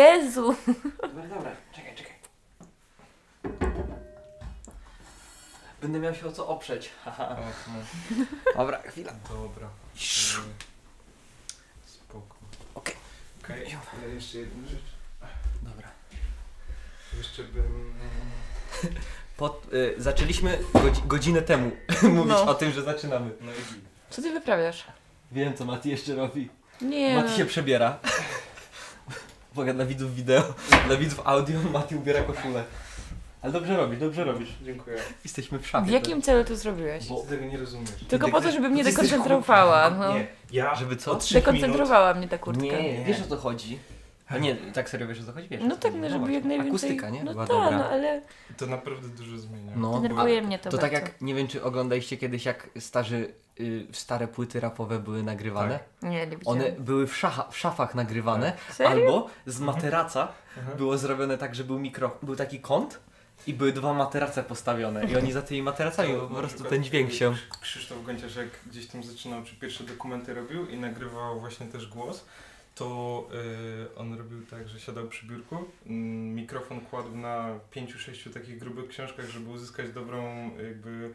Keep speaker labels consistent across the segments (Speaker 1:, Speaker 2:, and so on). Speaker 1: Jezu!
Speaker 2: Dobra, No dobra, czekaj, czekaj. Będę miał się o co oprzeć. haha.
Speaker 3: O, no,
Speaker 2: Dobra, chwila.
Speaker 3: dobra. Mm, Spoko.
Speaker 2: Okej.
Speaker 3: Okej, ja jeszcze jedną rzecz.
Speaker 2: Dobra.
Speaker 3: Jeszcze bym... e,
Speaker 2: Pod, y, zaczęliśmy godzi- godzinę temu mówić
Speaker 1: No.
Speaker 2: o tym, że zaczynamy.
Speaker 3: No i...
Speaker 1: Co ty wyprawiasz?
Speaker 2: Wiem, co Mati jeszcze robi.
Speaker 1: Nie. no.
Speaker 2: Mati się przebiera. Uwaga, dla widzów wideo, dla widzów audio, Mati ubiera koszulę. Ale dobrze robisz, dobrze robisz.
Speaker 3: Dziękuję.
Speaker 2: Jesteśmy w szafie.
Speaker 1: W jakim celu to zrobiłeś?
Speaker 2: Bo-
Speaker 3: Ty tego nie rozumiesz.
Speaker 1: Tylko po to, żeby mnie
Speaker 2: Ty jesteś
Speaker 1: dekoncentrowała. No.
Speaker 3: Nie, ja
Speaker 2: Żeby co?
Speaker 3: od trzech minut...
Speaker 1: Dekoncentrowała mnie ta kurtka.
Speaker 2: Nie, wiesz o co chodzi. A nie, tak serio wiesz o co chodzi? Wiesz,
Speaker 1: No
Speaker 2: o co
Speaker 1: tak,
Speaker 2: chodzi.
Speaker 1: no, żeby
Speaker 2: właśnie.
Speaker 1: jak najwięcej...
Speaker 2: Akustyka, nie?
Speaker 1: No
Speaker 2: Była
Speaker 1: ta,
Speaker 2: dobra.
Speaker 1: no ale
Speaker 3: To naprawdę dużo zmienia.
Speaker 2: No,
Speaker 1: denerwuje mnie to
Speaker 2: To tak
Speaker 1: bardzo.
Speaker 2: jak, nie wiem czy oglądaliście kiedyś jak starzy, y, stare płyty rapowe były nagrywane.
Speaker 3: Tak.
Speaker 1: Nie, nie widziałam. Tak.
Speaker 2: One były w, szacha, w szafach nagrywane,
Speaker 1: Serio?
Speaker 2: albo z
Speaker 3: Mhm.
Speaker 2: materaca
Speaker 3: Aha.
Speaker 2: było zrobione tak, że był mikro, był taki kąt i były dwa materace postawione i oni za tymi materacami
Speaker 3: To
Speaker 2: po
Speaker 3: na
Speaker 2: prostu
Speaker 3: przykład
Speaker 2: ten dźwięk się...
Speaker 3: Krzysztof Gąciaszek gdzieś tam zaczynał, czy pierwsze dokumenty robił i nagrywał właśnie też głos, to y, on robił tak, że siadał przy biurku, mm, mikrofon kładł na pięciu, sześciu takich grubych książkach, żeby uzyskać dobrą jakby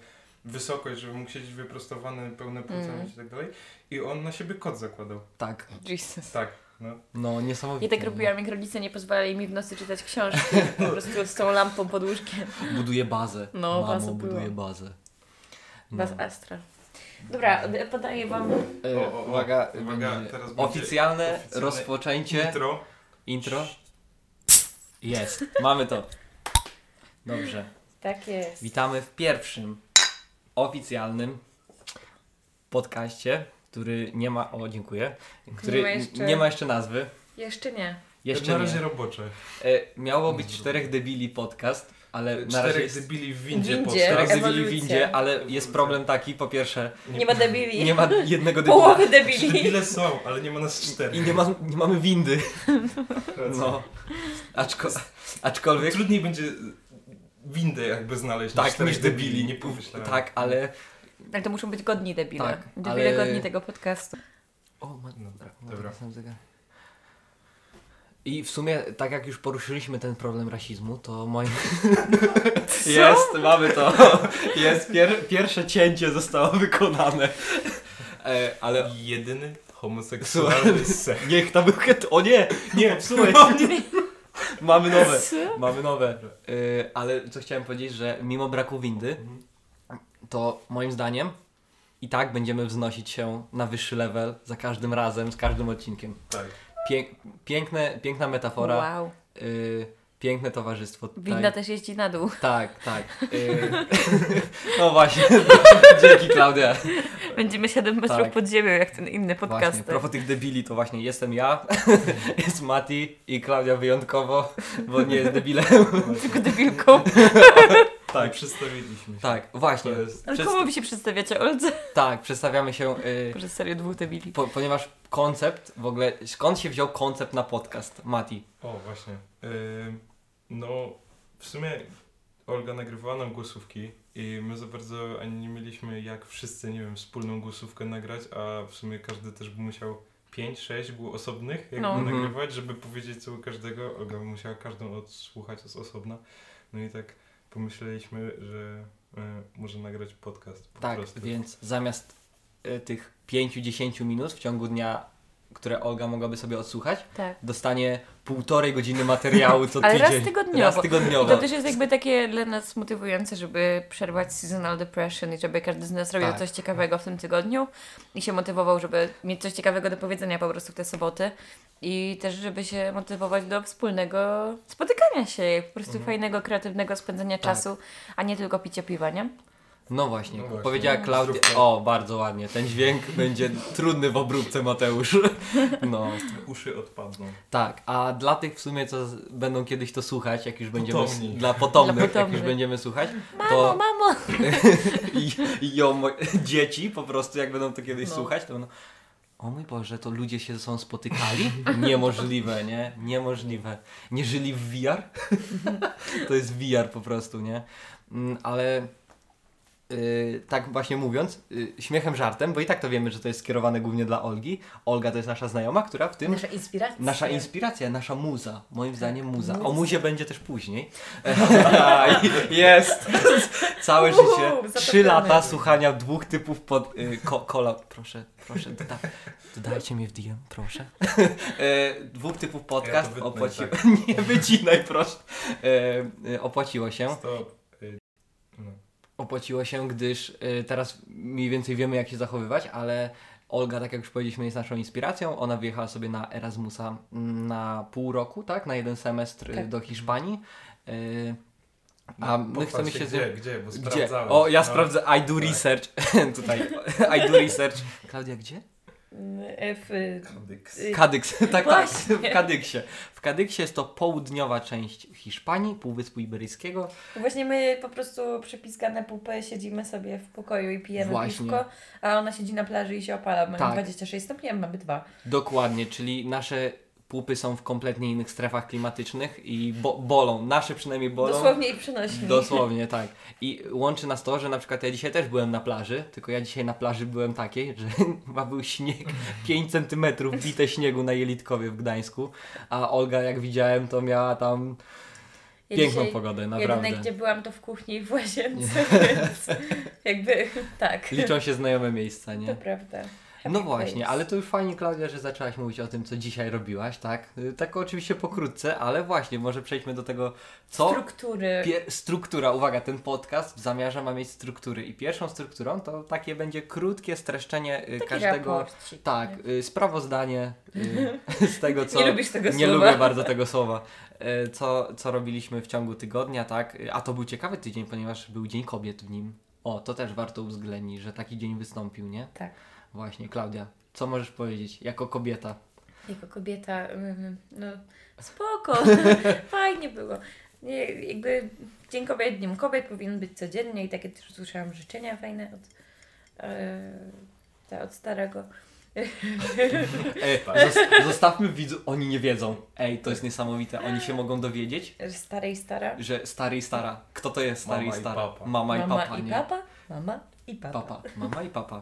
Speaker 3: wysokość, żeby mógł siedzieć wyprostowany, pełne płuca
Speaker 1: Mm.
Speaker 3: mieć i tak dalej. I on na siebie kot zakładał.
Speaker 2: Tak,
Speaker 1: Jesus.
Speaker 3: Tak, no.
Speaker 2: no niesamowite.
Speaker 1: Ja tak
Speaker 2: nie?
Speaker 1: robiłam, jak rodzice nie pozwalali mi w nocy czytać książki. Po prostu z tą lampą pod łóżkiem.
Speaker 2: Buduje bazę.
Speaker 1: No,
Speaker 2: Mamo,
Speaker 1: baza była.
Speaker 2: buduje bazę. No.
Speaker 1: Was Astra. Dobra, d- podaję wam...
Speaker 2: E,
Speaker 3: O, o, o.
Speaker 2: uwaga,
Speaker 3: Uwaga,
Speaker 2: będzie
Speaker 3: teraz będzie
Speaker 2: oficjalne,
Speaker 3: oficjalne
Speaker 2: rozpoczęcie,
Speaker 3: Intro.
Speaker 2: intro. Jest, mamy to. Dobrze.
Speaker 1: Tak jest.
Speaker 2: Witamy w pierwszym oficjalnym podcaście, który nie ma. O, dziękuję. Który
Speaker 1: Nie
Speaker 2: nie
Speaker 1: ma jeszcze-
Speaker 2: ma jeszcze, nazwy.
Speaker 1: Jeszcze nie.
Speaker 2: Jeszcze
Speaker 3: na
Speaker 2: nie.
Speaker 3: razie robocze.
Speaker 2: E, miało być czterech debili podcast, ale E, na razie
Speaker 3: Czterech
Speaker 2: jest
Speaker 3: debili w windzie,
Speaker 1: Windzie.
Speaker 3: windzie.
Speaker 2: czterech
Speaker 1: Ewolucja.
Speaker 2: debili w windzie, ale jest problem taki, po pierwsze,
Speaker 1: Nie ma debili.
Speaker 2: nie ma jednego debila
Speaker 1: Połowy debili.
Speaker 3: Debile są, ale nie ma nas czterech.
Speaker 2: i nie, ma, nie mamy windy. No. Aczko, aczkolwiek
Speaker 3: Trudniej będzie windę jakby znaleźć
Speaker 2: tak
Speaker 3: czterech
Speaker 2: niż debili.
Speaker 3: nie pomyślałem.
Speaker 2: Tak, ale.
Speaker 1: Ale to muszą być godni debile.
Speaker 2: Tak,
Speaker 1: debile
Speaker 2: ale-
Speaker 1: godni tego podcastu.
Speaker 2: O, ma...
Speaker 3: Dobra,
Speaker 2: No,
Speaker 3: dobra.
Speaker 2: sam zegar. I w sumie, tak jak już poruszyliśmy ten problem rasizmu, to moim... Jest, mamy to. Jest, pier pierwsze cięcie zostało wykonane. E, ale
Speaker 3: Jedyny homoseksualny seks.
Speaker 2: niech tam był... ket- O nie, No nie, słuchaj. Mamy nowe, mamy nowe. E, ale co chciałem powiedzieć, że mimo braku windy, to moim zdaniem i tak będziemy wznosić się na wyższy level za każdym razem, z każdym odcinkiem.
Speaker 3: Tak.
Speaker 2: Pięk, piękne, piękna metafora,
Speaker 1: Wow.
Speaker 2: y, piękne towarzystwo. tutaj.
Speaker 1: Winda też jeździ na dół.
Speaker 2: Tak, tak. y, no właśnie, dzięki Klaudia.
Speaker 1: Będziemy 7 metrów
Speaker 2: Tak.
Speaker 1: pod ziemią, jak ten inny
Speaker 2: Właśnie,
Speaker 1: podcast.
Speaker 2: propos tych debili, to właśnie jestem ja, jest Mati i Klaudia wyjątkowo, bo nie jest debilem.
Speaker 1: Tylko debilką.
Speaker 3: Tak, przedstawiliśmy się.
Speaker 2: Tak, właśnie.
Speaker 3: To jest-
Speaker 1: Ale
Speaker 2: Przez-
Speaker 1: komu wy się przedstawiacie, Olce?
Speaker 2: tak, przedstawiamy się, y,
Speaker 1: Może serio dwóch debili.
Speaker 2: po, ponieważ koncept, w ogóle skąd się wziął koncept na podcast, Mati?
Speaker 3: O, właśnie. Ym, no, w sumie Olga nagrywała nam głosówki i my za bardzo ani nie mieliśmy jak wszyscy, nie wiem, wspólną głosówkę nagrać, a w sumie każdy też by musiał 5, 6 było osobnych jakby
Speaker 1: No.
Speaker 2: Mhm.
Speaker 3: nagrywać, żeby powiedzieć co u każdego. Olga by musiała każdą odsłuchać z osobna. No i tak pomyśleliśmy, że y, może nagrać podcast po
Speaker 2: Tak,
Speaker 3: prostu.
Speaker 2: więc zamiast y, tych 5-10 minut w ciągu dnia, które Olga mogłaby sobie odsłuchać,
Speaker 1: Tak.
Speaker 2: dostanie półtorej godziny materiału co
Speaker 1: Ale
Speaker 2: tydzień.
Speaker 1: raz tygodniowo.
Speaker 2: Raz
Speaker 1: I to
Speaker 2: tygodniowo.
Speaker 1: też jest jakby takie dla nas motywujące, żeby przerwać seasonal depression i żeby każdy z nas robił
Speaker 2: Tak.
Speaker 1: coś ciekawego w tym tygodniu i się motywował, żeby mieć coś ciekawego do powiedzenia po prostu w te soboty i też żeby się motywować do wspólnego spotykania się, po prostu fajnego, kreatywnego spędzenia
Speaker 2: Mhm. Tak.
Speaker 1: czasu, a nie tylko picie piwa, nie?
Speaker 2: No właśnie,
Speaker 3: No właśnie.
Speaker 2: powiedziała Klaudia.
Speaker 3: Zrób to.
Speaker 2: O, bardzo ładnie. Ten dźwięk będzie trudny w obróbce, Mateusz. No,
Speaker 3: Uszy odpadną.
Speaker 2: tak. A dla tych w sumie, co z- będą kiedyś to słuchać, jak już będziemy. s-
Speaker 3: Potomni.
Speaker 2: Dla potomnych,
Speaker 1: Dla
Speaker 2: jak już
Speaker 1: potomnych.
Speaker 2: będziemy słuchać,
Speaker 1: Mamo,
Speaker 2: to
Speaker 1: mamo!
Speaker 2: i, i o mo- dzieci po prostu, jak będą to kiedyś
Speaker 1: No.
Speaker 2: słuchać, to będą. O mój Boże, to ludzie się ze sobą spotykali? Niemożliwe, nie? Niemożliwe. Nie żyli w VR? to jest VR po prostu, nie? Mm, Ale y, tak właśnie mówiąc, y, śmiechem, żartem, bo i tak to wiemy, że to jest skierowane głównie dla Olgi. Olga to jest nasza znajoma, która w tym
Speaker 1: Nasza inspiracja.
Speaker 2: Nasza inspiracja, nasza muza. Moim zdaniem muza. O
Speaker 1: Tak, muza.
Speaker 2: muzie będzie też później. Jest! Całe
Speaker 1: Uhu,
Speaker 2: życie.
Speaker 1: zatopiony.
Speaker 2: Trzy lata słuchania dwóch typów pod y, ko, kola. Proszę, proszę, doda, dodajcie mnie w DM, proszę. Y, dwóch typów podcast
Speaker 3: wytnę i
Speaker 2: opłaciło. Nie wycinaj, proszę. Y, y, opłaciło się.
Speaker 3: Stop. Y, No.
Speaker 2: Opłaciło się, gdyż y, teraz mniej więcej wiemy, jak się zachowywać, ale Olga, tak jak już powiedzieliśmy, jest naszą inspiracją. Ona wyjechała sobie na Erasmusa mm, na pół roku, tak? Na jeden semestr y,
Speaker 1: Tak.
Speaker 2: do Hiszpanii. Y,
Speaker 3: No,
Speaker 2: a my
Speaker 3: pochwal
Speaker 2: chcemy się. z nią-
Speaker 3: Gdzie, gdzie? Bo
Speaker 2: Gdzie?
Speaker 3: sprawdzałem.
Speaker 2: O, ja
Speaker 3: No.
Speaker 2: sprawdzę. I do
Speaker 3: Tak.
Speaker 2: research. Tutaj. I do research. Klaudia, gdzie?
Speaker 1: F... y,
Speaker 3: Kadyks.
Speaker 1: y,
Speaker 2: Kadyks, tak, tak, w
Speaker 1: Właśnie.
Speaker 2: Kadyksie. W Kadyksie jest to południowa część Hiszpanii, Półwyspu Iberyjskiego.
Speaker 1: Właśnie my po prostu przypiskane pupy siedzimy sobie w pokoju i pijemy
Speaker 2: Właśnie.
Speaker 1: piwko, a ona siedzi na plaży i się opala. Mamy
Speaker 2: Tak.
Speaker 1: 26 stopni, a mamy dwa.
Speaker 2: Dokładnie, czyli nasze pupy są w kompletnie innych strefach klimatycznych i bo bolą, nasze przynajmniej bolą.
Speaker 1: Dosłownie i przenośnie.
Speaker 2: Dosłownie, tak. I łączy nas to, że na przykład ja dzisiaj też byłem na plaży, tylko ja dzisiaj na plaży byłem takiej, że chyba był śnieg 5 cm bite śniegu na Jelitkowie w Gdańsku, a Olga jak widziałem to miała tam
Speaker 1: Ja
Speaker 2: piękną
Speaker 1: dzisiaj
Speaker 2: pogodę,
Speaker 1: Jedyne
Speaker 2: naprawdę.
Speaker 1: gdzie byłam to w kuchni i w łazience, więc jakby tak.
Speaker 2: Liczą się znajome miejsca,
Speaker 1: To
Speaker 2: nie?
Speaker 1: prawda.
Speaker 2: No
Speaker 1: Happy
Speaker 2: właśnie,
Speaker 1: place.
Speaker 2: ale to już fajnie Klaudia, że zaczęłaś mówić o tym, co dzisiaj robiłaś, tak? Y, Tak oczywiście pokrótce, ale właśnie, może przejdźmy do tego, co...
Speaker 1: Struktury.
Speaker 2: Pier- struktura, uwaga, ten podcast w zamiarze ma mieć struktury i pierwszą strukturą to takie będzie krótkie streszczenie y,
Speaker 1: Taki
Speaker 2: każdego...
Speaker 1: raporcik.
Speaker 2: Tak, y, sprawozdanie y, z tego, co...
Speaker 1: Nie lubisz tego
Speaker 2: Nie
Speaker 1: słowa.
Speaker 2: lubię bardzo tego słowa. Y, Co, co robiliśmy w ciągu tygodnia, tak? Y, A to był ciekawy tydzień, ponieważ był Dzień Kobiet w nim. O, to też warto uwzględnić, że taki dzień wystąpił, nie?
Speaker 1: Tak.
Speaker 2: Właśnie, Klaudia, co możesz powiedzieć jako kobieta?
Speaker 1: Jako kobieta, mm, no spoko, fajnie było. Nie, jakby Dzień Kobiet Dniem Kobiet powinien być codziennie i takie też słyszałam życzenia fajne od, e, ta, od starego.
Speaker 2: Ej, E, zos- zostawmy widzów, oni nie wiedzą. Ej, to jest niesamowite, oni się mogą dowiedzieć,
Speaker 1: że Starej stara.
Speaker 2: że stary i stara. Kto to jest stary
Speaker 3: Mama
Speaker 2: i
Speaker 3: i
Speaker 2: stara?
Speaker 3: papa.
Speaker 2: Mama i
Speaker 1: mama
Speaker 2: papa,
Speaker 1: i
Speaker 2: nie?
Speaker 1: papa, mama i papa.
Speaker 2: Papa. Mama i papa.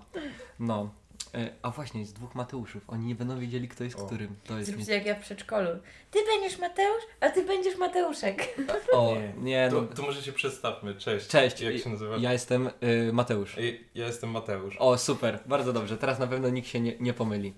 Speaker 2: No. E, A właśnie, z dwóch Mateuszów. Oni nie będą wiedzieli, kto jest
Speaker 3: O.
Speaker 2: którym. To jest
Speaker 1: Zróbcie jak ja w przedszkolu. Ty będziesz Mateusz, a ty będziesz Mateuszek.
Speaker 2: nie... O, nie,
Speaker 3: To,
Speaker 2: no.
Speaker 3: to może się przedstawmy. Cześć.
Speaker 2: Cześć.
Speaker 3: Jak się nazywasz? Ja,
Speaker 2: Ja jestem y, Mateusz.
Speaker 3: ja jestem Mateusz.
Speaker 2: O, super. Bardzo dobrze. Teraz na pewno nikt się nie, nie pomyli.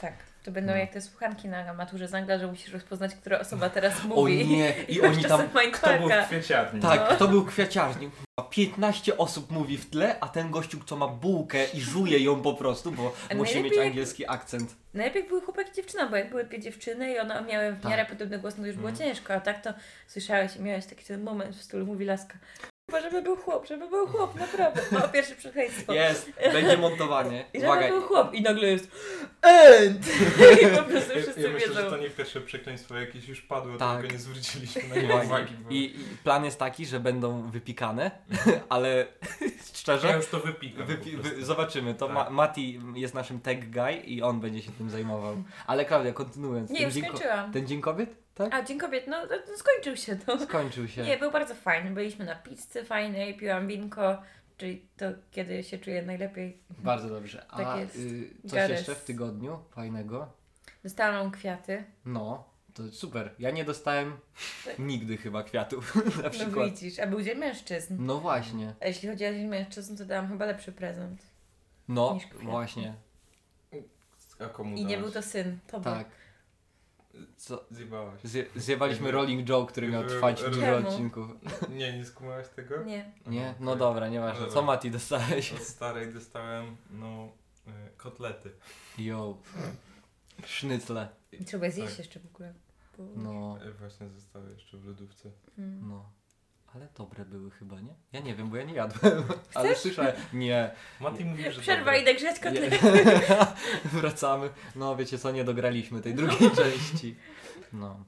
Speaker 1: Tak, to
Speaker 3: No.
Speaker 1: będą jak te słuchanki na maturze z Angla, że musisz rozpoznać, która osoba teraz
Speaker 2: O
Speaker 1: mówi.
Speaker 2: nie, i
Speaker 1: masz
Speaker 2: oni tam...
Speaker 1: czasem No. mindfucka.
Speaker 3: Kto był w kwieciarni?
Speaker 2: Tak, to był kwiaciarnik. 15 osób mówi w tle, a ten gościu, co ma bułkę i żuje ją po prostu, bo
Speaker 1: A
Speaker 2: musi mieć
Speaker 1: najlepiej-
Speaker 2: angielski akcent.
Speaker 1: Najlepiej No były chłopak i dziewczyna, bo jak były dwie dziewczyny i one miały w
Speaker 2: Tak.
Speaker 1: miarę podobny głos, no to już było
Speaker 3: Mhm.
Speaker 1: ciężko, a tak to słyszałeś i miałeś taki ten moment w stylu mówi laska. Chyba, żeby był chłop, żeby był chłop, naprawdę. O, pierwsze przekleństwo.
Speaker 2: Jest, będzie montowanie.
Speaker 1: I żeby
Speaker 2: Uwaga,
Speaker 1: był chłop. I nagle jest end! I po prostu
Speaker 3: Ja,
Speaker 1: wszyscy
Speaker 3: ja myślę, że
Speaker 1: wiedzą.
Speaker 3: to nie pierwsze przekleństwo jakieś już padło,
Speaker 2: Tak.
Speaker 3: tylko nie zwróciliśmy na nie
Speaker 2: uwagi.
Speaker 3: uwagi. Bo...
Speaker 2: I, I plan jest taki, że będą wypikane, ale
Speaker 3: Ja
Speaker 2: szczerze,
Speaker 3: już to wypikam.
Speaker 2: wypi-
Speaker 3: po prostu.
Speaker 2: wy, zobaczymy. To
Speaker 3: Tak.
Speaker 2: Ma, Mati jest naszym tag guy i on będzie się tym zajmował. Ale Klaudia, kontynuując.
Speaker 1: Nie,
Speaker 2: ten
Speaker 1: już
Speaker 2: dzień ko-
Speaker 1: skończyłam.
Speaker 2: Ten dzień kobiet? Tak?
Speaker 1: A, Dzień Kobiet, no, no no, skończył się to.
Speaker 2: Skończył się.
Speaker 1: Nie, był bardzo fajny. Byliśmy na pizzy fajnej, piłam winko, czyli to kiedy się czuję najlepiej.
Speaker 2: Bardzo dobrze. A
Speaker 1: Tak jest.
Speaker 2: y, coś
Speaker 1: Gary.
Speaker 2: jeszcze w tygodniu fajnego?
Speaker 1: Dostałam kwiaty.
Speaker 2: No, to super. Ja nie dostałem nigdy chyba kwiatów na
Speaker 1: No
Speaker 2: przykład.
Speaker 1: widzisz, a był Dzień Mężczyzn.
Speaker 2: No właśnie.
Speaker 1: A jeśli chodzi o dzień mężczyzn, to dałam chyba lepszy prezent.
Speaker 2: No
Speaker 1: Niż kwiaty.
Speaker 2: właśnie.
Speaker 3: A komu
Speaker 1: I nie
Speaker 3: dałaś?
Speaker 1: był to syn, to
Speaker 2: Tak. Co?
Speaker 3: Zjebałaś.
Speaker 2: Zje, zjewaliśmy rolling joke, który miał trwać dużo
Speaker 1: Czemu?
Speaker 2: odcinków.
Speaker 3: Nie, nie skumałaś tego?
Speaker 1: był. Nie.
Speaker 2: Nie? No
Speaker 3: Okej.
Speaker 2: dobra, nieważne. Co
Speaker 3: Dobra.
Speaker 2: Mati dostałeś?
Speaker 3: Od starej dostałem, no, y, kotlety.
Speaker 2: Yo. Sznycle.
Speaker 1: I Trzeba je zjeść
Speaker 3: Tak.
Speaker 1: jeszcze w ogóle. Bo...
Speaker 2: No,
Speaker 3: Y, Właśnie zostały jeszcze w lodówce.
Speaker 1: Mm.
Speaker 2: no. Ale dobre były chyba, nie? Ja nie wiem, bo ja nie jadłem. Ale słyszałem. Nie.
Speaker 3: Mati mówił, że
Speaker 1: Przerwa, tak
Speaker 3: dobre.
Speaker 1: idę grzać
Speaker 2: nie.
Speaker 1: kotlety.
Speaker 2: Wracamy. No wiecie co, nie dograliśmy tej drugiej części. No.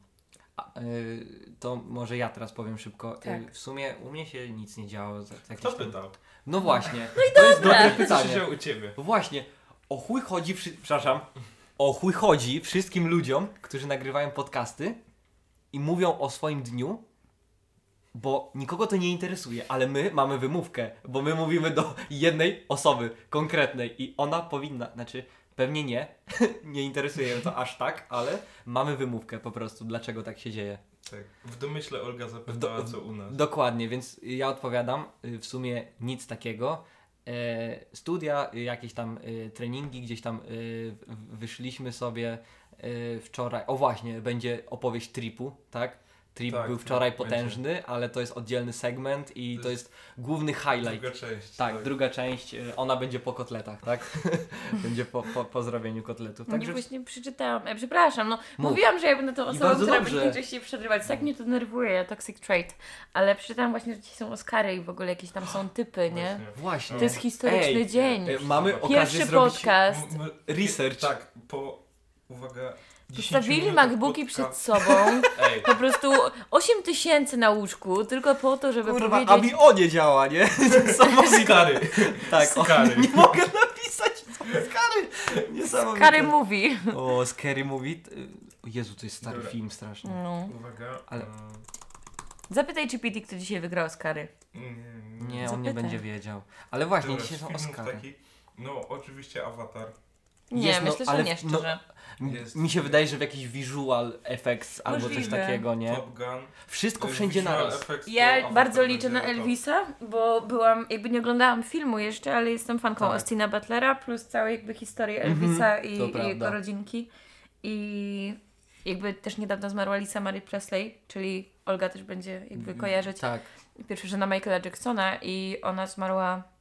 Speaker 2: A, y, to może ja teraz powiem szybko.
Speaker 1: Tak.
Speaker 2: Y, w sumie u mnie się nic nie działo. Za, za
Speaker 3: Kto
Speaker 2: jakiś tam-
Speaker 3: pytał?
Speaker 2: No właśnie. to jest dobre
Speaker 3: Co się
Speaker 2: pytanie.
Speaker 3: działo u ciebie?
Speaker 2: No Właśnie, o chuj chodzi, wszy- przepraszam, o chuj chodzi wszystkim ludziom, którzy nagrywają podcasty i mówią o swoim dniu bo nikogo to nie interesuje, ale my mamy wymówkę, bo my mówimy do jednej osoby konkretnej i ona powinna, znaczy pewnie nie, nie interesuje ją to aż tak, ale mamy wymówkę po prostu, dlaczego tak się dzieje.
Speaker 3: Tak. W domyśle Olga zapytała,
Speaker 2: W do-
Speaker 3: co u nas.
Speaker 2: Dokładnie, więc ja odpowiadam, y, w sumie nic takiego. E, studia, y, jakieś tam y, treningi, gdzieś tam y, w- wyszliśmy sobie y, wczoraj. O właśnie, będzie opowieść tripu, tak? Trip
Speaker 3: Tak,
Speaker 2: był wczoraj
Speaker 3: tak, będzie.
Speaker 2: potężny, ale to jest oddzielny segment i to,
Speaker 3: To
Speaker 2: jest, główny highlight.
Speaker 3: Druga część.
Speaker 2: tak, druga część, y, ona będzie po kotletach, tak? będzie po, po, po zrobieniu kotletów.
Speaker 1: Także...
Speaker 2: Także
Speaker 1: Nie właśnie przeczytałam, e, przepraszam, no
Speaker 2: Mów.
Speaker 1: mówiłam, że ja będę tą osobą,
Speaker 2: bardzo
Speaker 1: która
Speaker 2: dobrze. No.
Speaker 1: będzie najczęściej przerywać. Tak mnie to denerwuje, toxic trait. Ale przeczytałam właśnie, że dzisiaj są Oscary i w ogóle jakieś tam są typy, nie?
Speaker 2: właśnie.
Speaker 1: To jest historyczny
Speaker 2: Ej,
Speaker 1: dzień.
Speaker 2: y, mamy okazję
Speaker 1: Pierwszy
Speaker 2: zrobić
Speaker 1: podcast.
Speaker 2: research.
Speaker 3: Tak, po, uwaga, 10
Speaker 1: Postawili
Speaker 3: minutach
Speaker 1: MacBooki
Speaker 3: podca-
Speaker 1: przed sobą.
Speaker 3: Ej,
Speaker 1: Po prostu 8 tysięcy na łóżku, tylko po to, żeby
Speaker 2: Kurwa,
Speaker 1: powiedzieć...
Speaker 2: Abi o nie działa, nie? Niesamowite.
Speaker 3: Skary.
Speaker 2: Tak, o,
Speaker 3: Skary.
Speaker 2: nie mogę napisać, co skary. Niesamowite.
Speaker 1: Kary mówi.
Speaker 2: O, Scary Movie. t- o Jezu, to jest stary
Speaker 3: Dobra.
Speaker 2: film straszny.
Speaker 1: No.
Speaker 3: Uwaga.
Speaker 2: Ale-
Speaker 3: e,
Speaker 1: Zapytaj GPT, kto dzisiaj wygrał Oscary.
Speaker 3: mm,
Speaker 2: Nie, on
Speaker 1: Zapytaj.
Speaker 2: nie będzie wiedział. Ale właśnie,
Speaker 3: Dobra,
Speaker 2: dzisiaj są
Speaker 3: z filmów
Speaker 2: Oscary.
Speaker 3: takich- No, oczywiście Avatar.
Speaker 1: Nie,
Speaker 2: Jest, no,
Speaker 1: myślę, że
Speaker 2: ale-
Speaker 1: nie,
Speaker 2: no,
Speaker 1: szczerze.
Speaker 2: M-
Speaker 3: Jest.
Speaker 2: Mi się wydaje, że w jakiś visual effects albo coś
Speaker 1: Możliwe.
Speaker 2: takiego, nie?
Speaker 3: Top Gun.
Speaker 2: Wszystko
Speaker 3: e,
Speaker 2: wszędzie
Speaker 3: visual
Speaker 2: naraz.
Speaker 3: effects, to
Speaker 1: Ja
Speaker 3: Avatar
Speaker 1: bardzo liczę na
Speaker 3: będzie top.
Speaker 1: Elvisa, bo byłam, jakby nie oglądałam filmu jeszcze, ale jestem fanką
Speaker 2: Tak.
Speaker 1: Austina Butlera, plus całej jakby historii
Speaker 2: Mhm,
Speaker 1: Elvisa
Speaker 2: to
Speaker 1: i, i
Speaker 2: prawda.
Speaker 1: jego rodzinki. I jakby też niedawno zmarła Lisa Marie Presley, czyli Olga też będzie jakby kojarzyć.
Speaker 2: Tak.
Speaker 1: Pierwsza żona Michaela Jacksona i ona zmarła mm,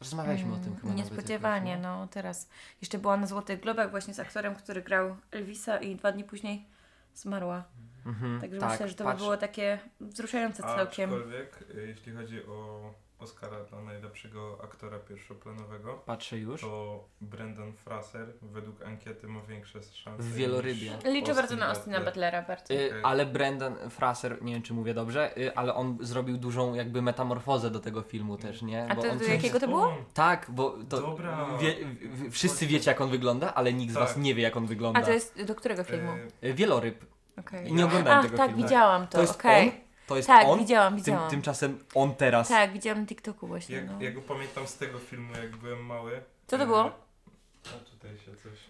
Speaker 2: Rozmawialiśmy o tym chyba. nawet
Speaker 1: niespodziewanie,
Speaker 2: jakoś,
Speaker 1: no teraz. Jeszcze była na Złotych Globach właśnie z aktorem, który grał Elvisa i dwa dni później zmarła.
Speaker 2: no. Mhm,
Speaker 1: Także
Speaker 2: tak,
Speaker 1: myślę, że to
Speaker 2: patrz,
Speaker 1: by było takie wzruszające całkiem.
Speaker 3: Aczkolwiek, e, jeśli chodzi o Oscara dla najlepszego aktora pierwszoplanowego,
Speaker 2: Patrzę już.
Speaker 3: to Brendan Fraser według ankiety ma większe szanse.
Speaker 2: W
Speaker 3: niż
Speaker 2: wielorybie.
Speaker 1: Liczę
Speaker 3: Austin
Speaker 1: bardzo na Austina
Speaker 3: Butler.
Speaker 1: Butlera bardzo.
Speaker 2: Y,
Speaker 3: Okej.
Speaker 2: Ale Brendan Fraser, nie wiem czy mówię dobrze, y, ale on zrobił dużą jakby metamorfozę do tego filmu też, nie?
Speaker 1: A to
Speaker 2: on
Speaker 1: do
Speaker 2: coś-
Speaker 1: jakiego to było?
Speaker 3: O,
Speaker 2: Tak, bo to
Speaker 3: Dobra.
Speaker 2: Wie, w- wszyscy wiecie jak on wygląda, ale nikt z
Speaker 3: Tak.
Speaker 2: was nie wie jak on wygląda.
Speaker 1: A to jest do którego filmu?
Speaker 3: e,
Speaker 2: Y, Wieloryb.
Speaker 1: Okej.
Speaker 2: I nie oglądałem
Speaker 1: Ach,
Speaker 2: tego
Speaker 1: tak,
Speaker 2: filmu.
Speaker 1: widziałam to,
Speaker 2: To jest
Speaker 1: okej.
Speaker 2: on, to jest
Speaker 1: Tak,
Speaker 2: on.
Speaker 1: widziałam,
Speaker 2: Tym,
Speaker 1: widziałam.
Speaker 2: tymczasem on teraz.
Speaker 1: Tak, widziałam na TikToku właśnie.
Speaker 3: Jak,
Speaker 1: No.
Speaker 3: ja go pamiętam z tego filmu, jak byłem mały.
Speaker 1: Co to
Speaker 3: E,
Speaker 1: było? No,
Speaker 3: No tutaj się coś.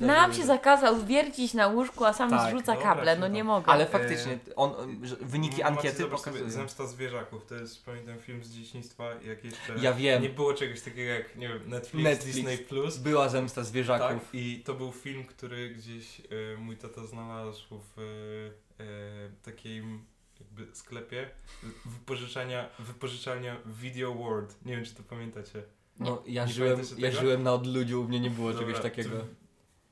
Speaker 1: Nam się zakazał wiercić na łóżku, a sam
Speaker 2: Tak,
Speaker 1: zrzuca
Speaker 3: dobra,
Speaker 1: kable, no
Speaker 3: czytam.
Speaker 1: nie mogę.
Speaker 2: Ale faktycznie, on, że wyniki
Speaker 3: E, Macie
Speaker 2: ankiety
Speaker 3: zobaczyć sobie
Speaker 2: pokazują.
Speaker 3: Zemsta zwierzaków. To jest, pamiętam, film z dzieciństwa, jak jeszcze
Speaker 2: Ja wiem.
Speaker 3: nie było czegoś takiego jak, nie wiem, Netflix,
Speaker 2: Netflix.
Speaker 3: Disney+. Plus.
Speaker 2: Była zemsta
Speaker 3: Tak,
Speaker 2: zwierzaków.
Speaker 3: i to był film, który gdzieś e, mój tata znalazł w e, e, takim jakby sklepie wypożyczania, wypożyczania Video World. Nie wiem, czy to pamiętacie.
Speaker 2: No, ja,
Speaker 3: Nie
Speaker 2: żyłem,
Speaker 3: pamiętasz
Speaker 2: ja
Speaker 3: tego?
Speaker 2: żyłem na odludziu, u mnie nie było
Speaker 3: Dobra,
Speaker 2: czegoś takiego.
Speaker 3: to-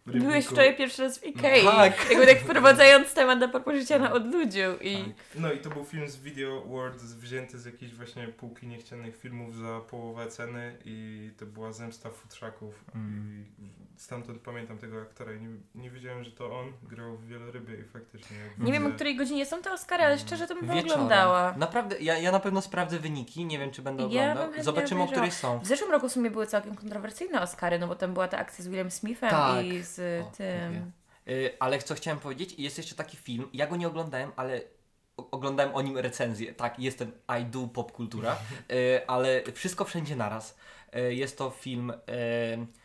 Speaker 1: Byłeś
Speaker 3: Rybniku.
Speaker 1: wczoraj pierwszy raz w Ikei.
Speaker 2: Tak.
Speaker 1: Jakby tak wprowadzając temat do propos życia na odludziu i...
Speaker 3: No i to był film z Video World z- wzięty z jakiejś właśnie półki niechcianych filmów za połowę ceny i to była zemsta futrzaków.
Speaker 2: Mm.
Speaker 3: I stamtąd pamiętam tego aktora i nie, nie wiedziałem, że to on grał w Wielorybie i faktycznie... jak
Speaker 1: Nie wiem, o
Speaker 3: widzę-
Speaker 1: której godzinie są te Oscary, ale szczerze to bym
Speaker 2: no Wieczorem.
Speaker 1: oglądała.
Speaker 2: Naprawdę, ja, ja na pewno sprawdzę wyniki, nie wiem czy będę
Speaker 1: Ja bym
Speaker 2: oglądał.
Speaker 1: chętnie
Speaker 2: Zobaczymy o
Speaker 1: obejrzała.
Speaker 2: której są.
Speaker 1: W zeszłym roku w sumie były całkiem kontrowersyjne Oscary, no bo tam była ta akcja z Willem Smithem
Speaker 2: Tak.
Speaker 1: i z
Speaker 2: O, dziękuję.
Speaker 1: tym...
Speaker 2: Y, ale co chciałem powiedzieć, jest jeszcze taki film, ja go nie oglądałem, ale o- oglądałem o nim recenzję. Tak, jestem I do popkultura, y, ale wszystko wszędzie naraz. Y, jest to film, y,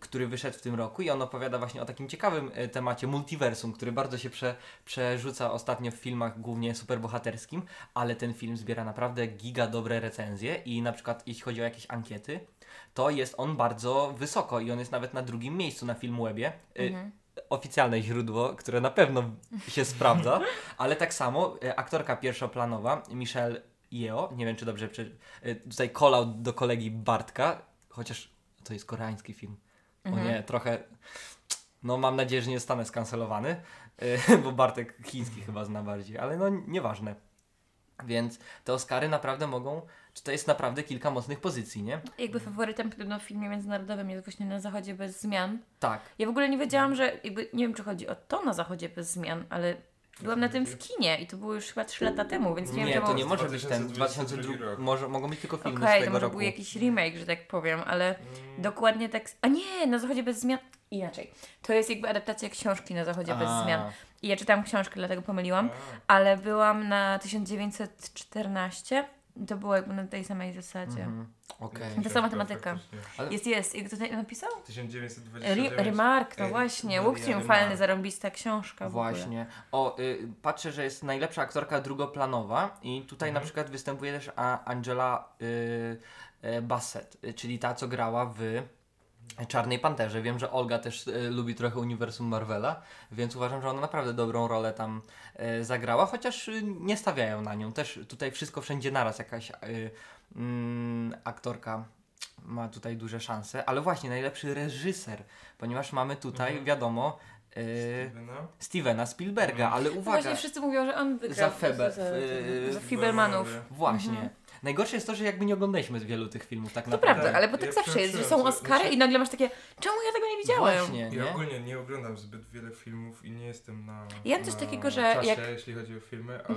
Speaker 2: który wyszedł w tym roku i on opowiada właśnie o takim ciekawym y, temacie multiversum, który bardzo się prze, przerzuca ostatnio w filmach głównie superbohaterskim, ale ten film zbiera naprawdę giga dobre recenzje i na przykład jeśli chodzi o jakieś ankiety, to jest on bardzo wysoko i on jest nawet na drugim miejscu na Filmwebie. Y,
Speaker 1: Mhm.
Speaker 2: oficjalne źródło, które na pewno się sprawdza, ale tak samo e, aktorka pierwszoplanowa Michelle Yeo, nie wiem czy dobrze prze... e, tutaj call out do kolegi Bartka, chociaż to jest koreański film.
Speaker 1: Mhm.
Speaker 2: O nie, trochę no mam nadzieję, że nie zostanę skancelowany, e, bo Bartek chiński chyba zna bardziej, ale no nieważne. Więc te Oscary naprawdę mogą, czy to jest naprawdę kilka mocnych pozycji, nie?
Speaker 1: Jakby faworytem podobno w filmie międzynarodowym jest właśnie na zachodzie bez zmian.
Speaker 2: Tak.
Speaker 1: Ja w ogóle nie wiedziałam, że jakby, nie wiem czy chodzi o to na zachodzie bez zmian, ale byłam na tym w kinie i to było już chyba 3 lata temu, więc nie, wiem
Speaker 2: Nie,
Speaker 1: czemu...
Speaker 2: to nie może być ten
Speaker 3: 2022
Speaker 2: 2002,
Speaker 3: rok.
Speaker 2: może, mogą być tylko
Speaker 1: Okej,
Speaker 2: filmy z
Speaker 1: to
Speaker 2: tego
Speaker 1: może
Speaker 2: roku.
Speaker 1: był jakiś remake, że tak powiem, ale
Speaker 3: Mm,
Speaker 1: dokładnie tak... A nie, na zachodzie bez zmian... inaczej. To jest jakby adaptacja książki na zachodzie bez
Speaker 2: A,
Speaker 1: zmian. I ja czytałam książkę, dlatego pomyliłam,
Speaker 3: A.
Speaker 1: ale byłam na 1914. To było jakby na tej samej zasadzie.
Speaker 2: mhm, Okej.
Speaker 1: To sama tematyka.
Speaker 3: Faktycznie.
Speaker 2: Ale-
Speaker 1: Jest, jest. I kto to napisał?
Speaker 3: 1929.
Speaker 1: Ri- Remark, no
Speaker 3: Ej,
Speaker 1: właśnie.
Speaker 3: Maria
Speaker 1: Łuk triumfalny,
Speaker 3: Remark.
Speaker 1: zarąbista książka. w ogóle.
Speaker 2: Właśnie. O, y, patrzę, że jest najlepsza aktorka drugoplanowa i tutaj
Speaker 1: Mhm.
Speaker 2: na przykład występuje też a Angela y, y, Bassett, y, czyli ta, co grała w Czarnej Panterze. Wiem, że Olga też y, lubi trochę uniwersum Marvela, więc uważam, że ona naprawdę dobrą rolę tam y, zagrała, chociaż y, nie stawiają na nią. Też tutaj wszystko wszędzie naraz jakaś y, mm, aktorka ma tutaj duże szanse, ale właśnie najlepszy reżyser, ponieważ mamy tutaj,
Speaker 3: Mhm.
Speaker 2: wiadomo, y,
Speaker 3: Stevena.
Speaker 2: Stevena Spielberga,
Speaker 3: Mhm.
Speaker 2: ale
Speaker 1: No
Speaker 2: uwaga,
Speaker 1: właśnie wszyscy mówią, że on wygrał.
Speaker 2: za Febe.
Speaker 4: za-
Speaker 2: y,
Speaker 1: za- Fibelmanów.
Speaker 2: Właśnie. Najgorsze jest to, że jakby nie oglądaliśmy z wielu tych filmów tak
Speaker 1: Mhm. To
Speaker 2: naprawdę.
Speaker 1: prawda, ale bo
Speaker 3: Ja
Speaker 1: tak zawsze jest, że są
Speaker 3: przeoczyłem, że-
Speaker 1: Oscary
Speaker 3: znaczy-
Speaker 1: i nagle masz takie, czemu ja tego nie widziałem?
Speaker 2: Właśnie,
Speaker 3: Ja
Speaker 2: nie?
Speaker 3: ogólnie nie oglądam zbyt wiele filmów i nie jestem na.
Speaker 1: Ja mam
Speaker 3: na
Speaker 1: coś takiego, że
Speaker 3: czasie,
Speaker 1: jak-
Speaker 3: jeśli chodzi o filmy, ale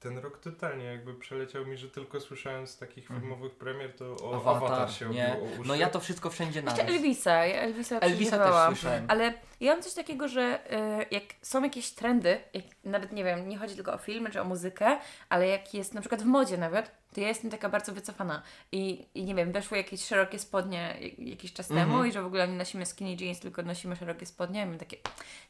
Speaker 3: ten rok totalnie jakby przeleciał mi, że tylko słyszałem z takich
Speaker 2: Mhm.
Speaker 3: filmowych premier, to o Avatar,
Speaker 2: Awatar,
Speaker 3: się
Speaker 2: nie?
Speaker 3: obiło o uszy.
Speaker 2: No ja to wszystko wszędzie naraz.
Speaker 1: Jeszcze Elvisa, ja Elvisa,
Speaker 2: Elvisa też
Speaker 1: przeżywałam.
Speaker 2: słyszałem.
Speaker 1: Ale ja mam coś takiego, że e, jak są jakieś trendy, jak, nawet nie wiem, nie chodzi tylko o filmy czy o muzykę, ale jak jest na przykład w modzie nawet, to ja jestem taka bardzo wycofana. I, i nie wiem, weszły jakieś szerokie spodnie jak- jakiś czas
Speaker 2: Mhm.
Speaker 1: temu i że w ogóle nie nosimy skinny jeans, tylko nosimy szerokie spodnie. I mam takie,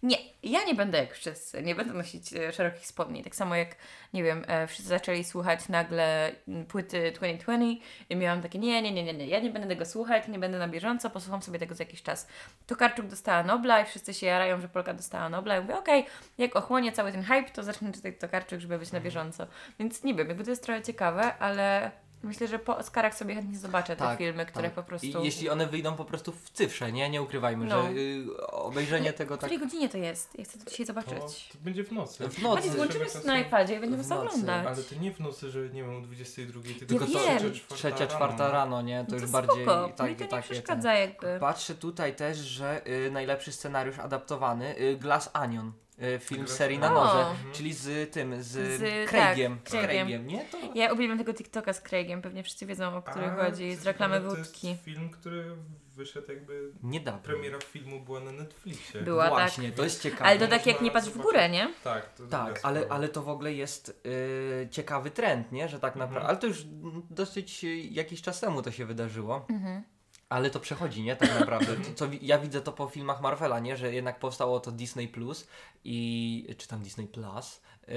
Speaker 1: nie, ja nie będę jak wszyscy, nie będę nosić e, szerokich spodni. Tak samo jak, nie wiem, e, wszyscy zaczęli słuchać nagle mm, płyty 2020 i miałam takie, nie, nie, nie, nie, nie, ja nie będę tego słuchać, nie będę na bieżąco, posłucham sobie tego za jakiś czas. Tokarczuk dostała Nobla i wszyscy się jarają, że Polka dostała Nobla. I mówię, okej, jak ochłonie cały ten hype, to zacznę czytać Tokarczuk, żeby być na
Speaker 2: Mhm.
Speaker 1: bieżąco. Więc nie wiem, jakby to jest trochę ciekawe, ale myślę, że po Oscarach sobie chętnie zobaczę te
Speaker 2: Tak,
Speaker 1: filmy, które
Speaker 2: tak.
Speaker 1: po prostu...
Speaker 2: I jeśli one wyjdą po prostu w cyfrze, nie? Nie ukrywajmy,
Speaker 1: No.
Speaker 2: że y, obejrzenie tego
Speaker 1: W
Speaker 2: tak
Speaker 1: której godzinie to jest? Ja chcę to dzisiaj
Speaker 3: to,
Speaker 1: zobaczyć.
Speaker 3: No, to będzie w nocy.
Speaker 2: w nocy.
Speaker 1: Macie, włączymy
Speaker 3: Żeby
Speaker 1: na
Speaker 3: czasem-
Speaker 1: iPadzie i będziemy
Speaker 2: w
Speaker 1: sobie
Speaker 2: nocy,
Speaker 1: oglądać.
Speaker 3: Ale to nie w nocy, że nie wiem, o 22,
Speaker 1: Ja
Speaker 3: tylko to
Speaker 1: wiem.
Speaker 3: trzecia, czwarta
Speaker 2: Trzecia,
Speaker 3: rano.
Speaker 2: czwarta rano, nie? To
Speaker 1: No
Speaker 2: już
Speaker 1: to
Speaker 2: bardziej
Speaker 1: spoko, mi
Speaker 2: tak-
Speaker 1: to nie
Speaker 2: takie ten-
Speaker 1: przeszkadza jakby.
Speaker 2: Patrzę tutaj też, że y, najlepszy scenariusz adaptowany y, Glass Onion. Y, film
Speaker 3: Glass
Speaker 2: serii na
Speaker 1: Onion.
Speaker 2: noże,
Speaker 1: O.
Speaker 3: Mhm.
Speaker 2: czyli z tym, z,
Speaker 1: Z-
Speaker 2: Craigiem.
Speaker 1: tak,
Speaker 2: z
Speaker 1: Craigiem.
Speaker 2: Craigiem, nie? To...
Speaker 1: Ja uwielbiam tego TikToka z Craigiem, pewnie wszyscy wiedzą o który
Speaker 3: A,
Speaker 1: chodzi,
Speaker 3: co
Speaker 1: z reklamy
Speaker 3: ciekawe, To
Speaker 1: wódki.
Speaker 3: jest film, który wyszedł jakby...
Speaker 2: Niedawno.
Speaker 3: Premiera filmu była na Netflixie.
Speaker 1: Była. tak.
Speaker 2: Właśnie, to jest ciekawe.
Speaker 1: Ale to tak jak
Speaker 3: Można
Speaker 1: nie patrz w górę, nie?
Speaker 3: Tak, to
Speaker 2: Tak,
Speaker 3: jasne.
Speaker 2: ale, ale to w ogóle jest y, ciekawy trend, nie? Że tak naprawdę.
Speaker 3: Mhm.
Speaker 2: Ale to już mm, dosyć y, jakiś czas temu to się wydarzyło.
Speaker 1: Mhm.
Speaker 2: Ale to przechodzi, nie? Tak naprawdę. To, co, wi- ja widzę to po filmach Marvela, nie? Że jednak powstało to Disney Plus i. czy tam Disney Plus. Yy,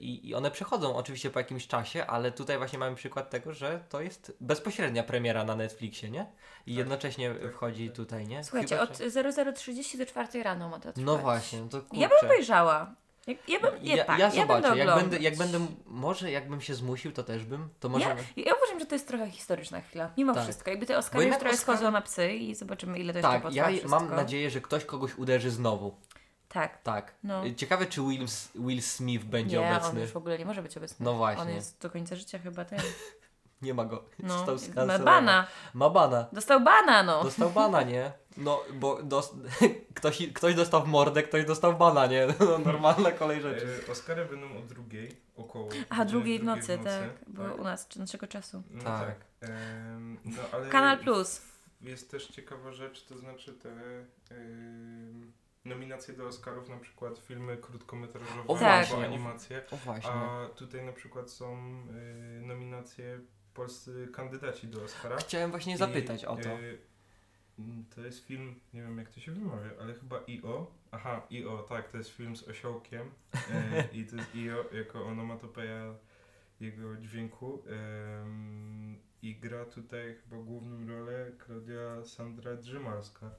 Speaker 2: I i one przechodzą oczywiście po jakimś czasie, ale tutaj właśnie mamy przykład tego, że to jest bezpośrednia premiera na Netflixie, nie? I
Speaker 3: Tak.
Speaker 2: jednocześnie
Speaker 3: Tak,
Speaker 2: wchodzi
Speaker 3: tak.
Speaker 2: tutaj, nie?
Speaker 1: Słuchajcie,
Speaker 2: Chyba,
Speaker 1: od
Speaker 2: że-
Speaker 1: 00.30 do 4 rano ma to trwać.
Speaker 2: No właśnie, no to kurczę.
Speaker 1: Ja bym obejrzała. Ja, ja bym, ja,
Speaker 2: ja,
Speaker 1: tak,
Speaker 2: ja zobaczę,
Speaker 1: będę
Speaker 2: jak, będę,
Speaker 1: oglądać.
Speaker 2: jak będę, może jakbym się zmusił, to też bym, to może...
Speaker 1: Ja, ja uważam, że to jest trochę historyczna chwila, mimo
Speaker 2: Tak.
Speaker 1: wszystko. Jakby te
Speaker 2: Bo
Speaker 1: Oscary już
Speaker 2: jednak
Speaker 1: trochę
Speaker 2: Oscary-
Speaker 1: schodzą na psy i zobaczymy, ile to jeszcze
Speaker 2: tak,
Speaker 1: potrwa
Speaker 2: ja
Speaker 1: wszystko.
Speaker 2: mam nadzieję, że ktoś kogoś uderzy znowu,
Speaker 1: Tak.
Speaker 2: tak.
Speaker 1: No.
Speaker 2: Ciekawe, czy Will, S- Will Smith będzie
Speaker 1: nie, on
Speaker 2: obecny.
Speaker 1: już w ogóle nie może być obecny.
Speaker 2: No właśnie,
Speaker 1: On jest do końca życia chyba ten.
Speaker 2: nie ma go.
Speaker 1: No,
Speaker 2: Został
Speaker 1: ma
Speaker 2: skancelowany.
Speaker 1: bana.
Speaker 2: Ma bana.
Speaker 1: Dostał bana, no.
Speaker 2: Dostał bana, nie? No, bo dos... ktoś, ktoś dostał w mordę, ktoś dostał bana, nie? No, normalna kolej rzeczy.
Speaker 3: E, Oscary będą o drugiej około.
Speaker 1: A,
Speaker 3: godziny
Speaker 1: drugiej w nocy,
Speaker 3: w
Speaker 1: tak. Bo u nas, czy naszego czasu.
Speaker 3: No
Speaker 2: Tak.
Speaker 3: tak. Em, no, ale
Speaker 1: Kanal Plus.
Speaker 3: Jest też ciekawa rzecz, to znaczy te em, nominacje do Oscarów, na przykład filmy krótkometrażowe
Speaker 2: O,
Speaker 1: tak.
Speaker 3: albo animacje.
Speaker 2: O właśnie.
Speaker 3: A tutaj na przykład są y, nominacje polscy kandydaci do Oscara.
Speaker 2: Chciałem właśnie
Speaker 3: I,
Speaker 2: zapytać o to.
Speaker 3: y, m, to jest film, nie wiem jak to się wymawia, ale chyba I.O. Aha, I.O., tak, to jest film z osiołkiem y, i to jest I.O. jako onomatopeja jego dźwięku. ym, I gra tutaj chyba główną rolę Klaudia Sandra Drzymalska.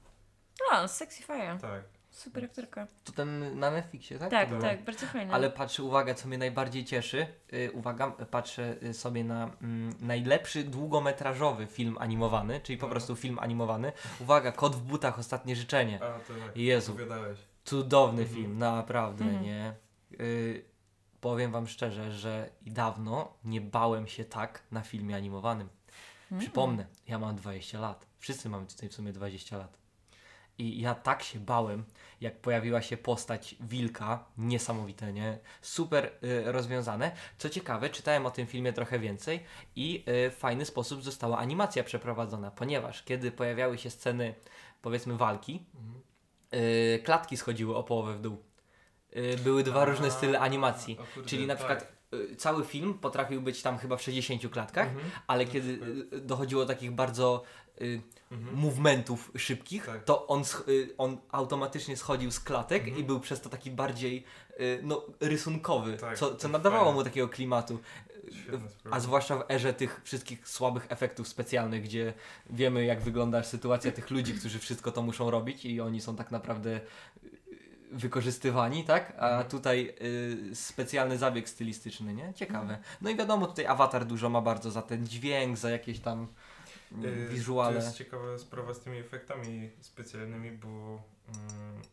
Speaker 1: No, Sexy Fire.
Speaker 3: Tak.
Speaker 1: Super aktorka.
Speaker 2: To ten na Netflixie, tak?
Speaker 1: Tak,
Speaker 2: To było?
Speaker 1: tak, bardzo fajna.
Speaker 2: Ale patrzę, uwaga, co mnie najbardziej cieszy. Yy, uwaga, patrzę y, sobie na mm, najlepszy długometrażowy film animowany, czyli po
Speaker 3: No.
Speaker 2: prostu film animowany. Uwaga, Kot w butach, ostatnie życzenie.
Speaker 3: A, to tak.
Speaker 2: Jezu.
Speaker 3: Opowiadałeś.
Speaker 2: Cudowny
Speaker 3: Mhm.
Speaker 2: film, naprawdę,
Speaker 1: Mhm.
Speaker 2: nie? Y, powiem wam szczerze, że dawno nie bałem się tak na filmie animowanym.
Speaker 1: Mm.
Speaker 2: Przypomnę, ja mam 20 lat. Wszyscy mamy tutaj w sumie 20 lat. I ja tak się bałem, jak pojawiła się postać wilka, niesamowite, nie? Super y, rozwiązane. Co ciekawe, czytałem o tym filmie trochę więcej i y, w fajny sposób została animacja przeprowadzona, ponieważ kiedy pojawiały się sceny powiedzmy walki,
Speaker 3: Mhm.
Speaker 2: yy, klatki schodziły o połowę w dół. Yy, były dwa różne
Speaker 3: A,
Speaker 2: style animacji.
Speaker 3: O kurde,
Speaker 2: Czyli na
Speaker 3: tak.
Speaker 2: przykład yy, cały film potrafił być tam chyba w 60 klatkach,
Speaker 3: Mhm.
Speaker 2: ale kiedy yy, dochodziło do takich bardzo y,
Speaker 3: mhm.
Speaker 2: movementów szybkich,
Speaker 3: Tak.
Speaker 2: to on, sch- y, on automatycznie schodził z klatek
Speaker 3: Mhm.
Speaker 2: i był przez to taki bardziej y, no, rysunkowy,
Speaker 3: Tak,
Speaker 2: co,
Speaker 3: tak,
Speaker 2: co nadawało
Speaker 3: fajnie.
Speaker 2: mu takiego klimatu.
Speaker 3: Świetna sprawa.
Speaker 2: A zwłaszcza w erze tych wszystkich słabych efektów specjalnych, gdzie wiemy jak wygląda sytuacja tych ludzi, którzy wszystko to muszą robić i oni są tak naprawdę y, wykorzystywani, tak? A
Speaker 3: Mhm.
Speaker 2: tutaj y, specjalny zabieg stylistyczny, nie?
Speaker 3: Mhm.
Speaker 2: Ciekawe. No i wiadomo, tutaj awatar dużo ma bardzo za ten dźwięk, za jakieś tam
Speaker 3: Yy,
Speaker 2: y, wizuale.
Speaker 3: To jest ciekawa sprawa z tymi efektami specjalnymi, bo mm,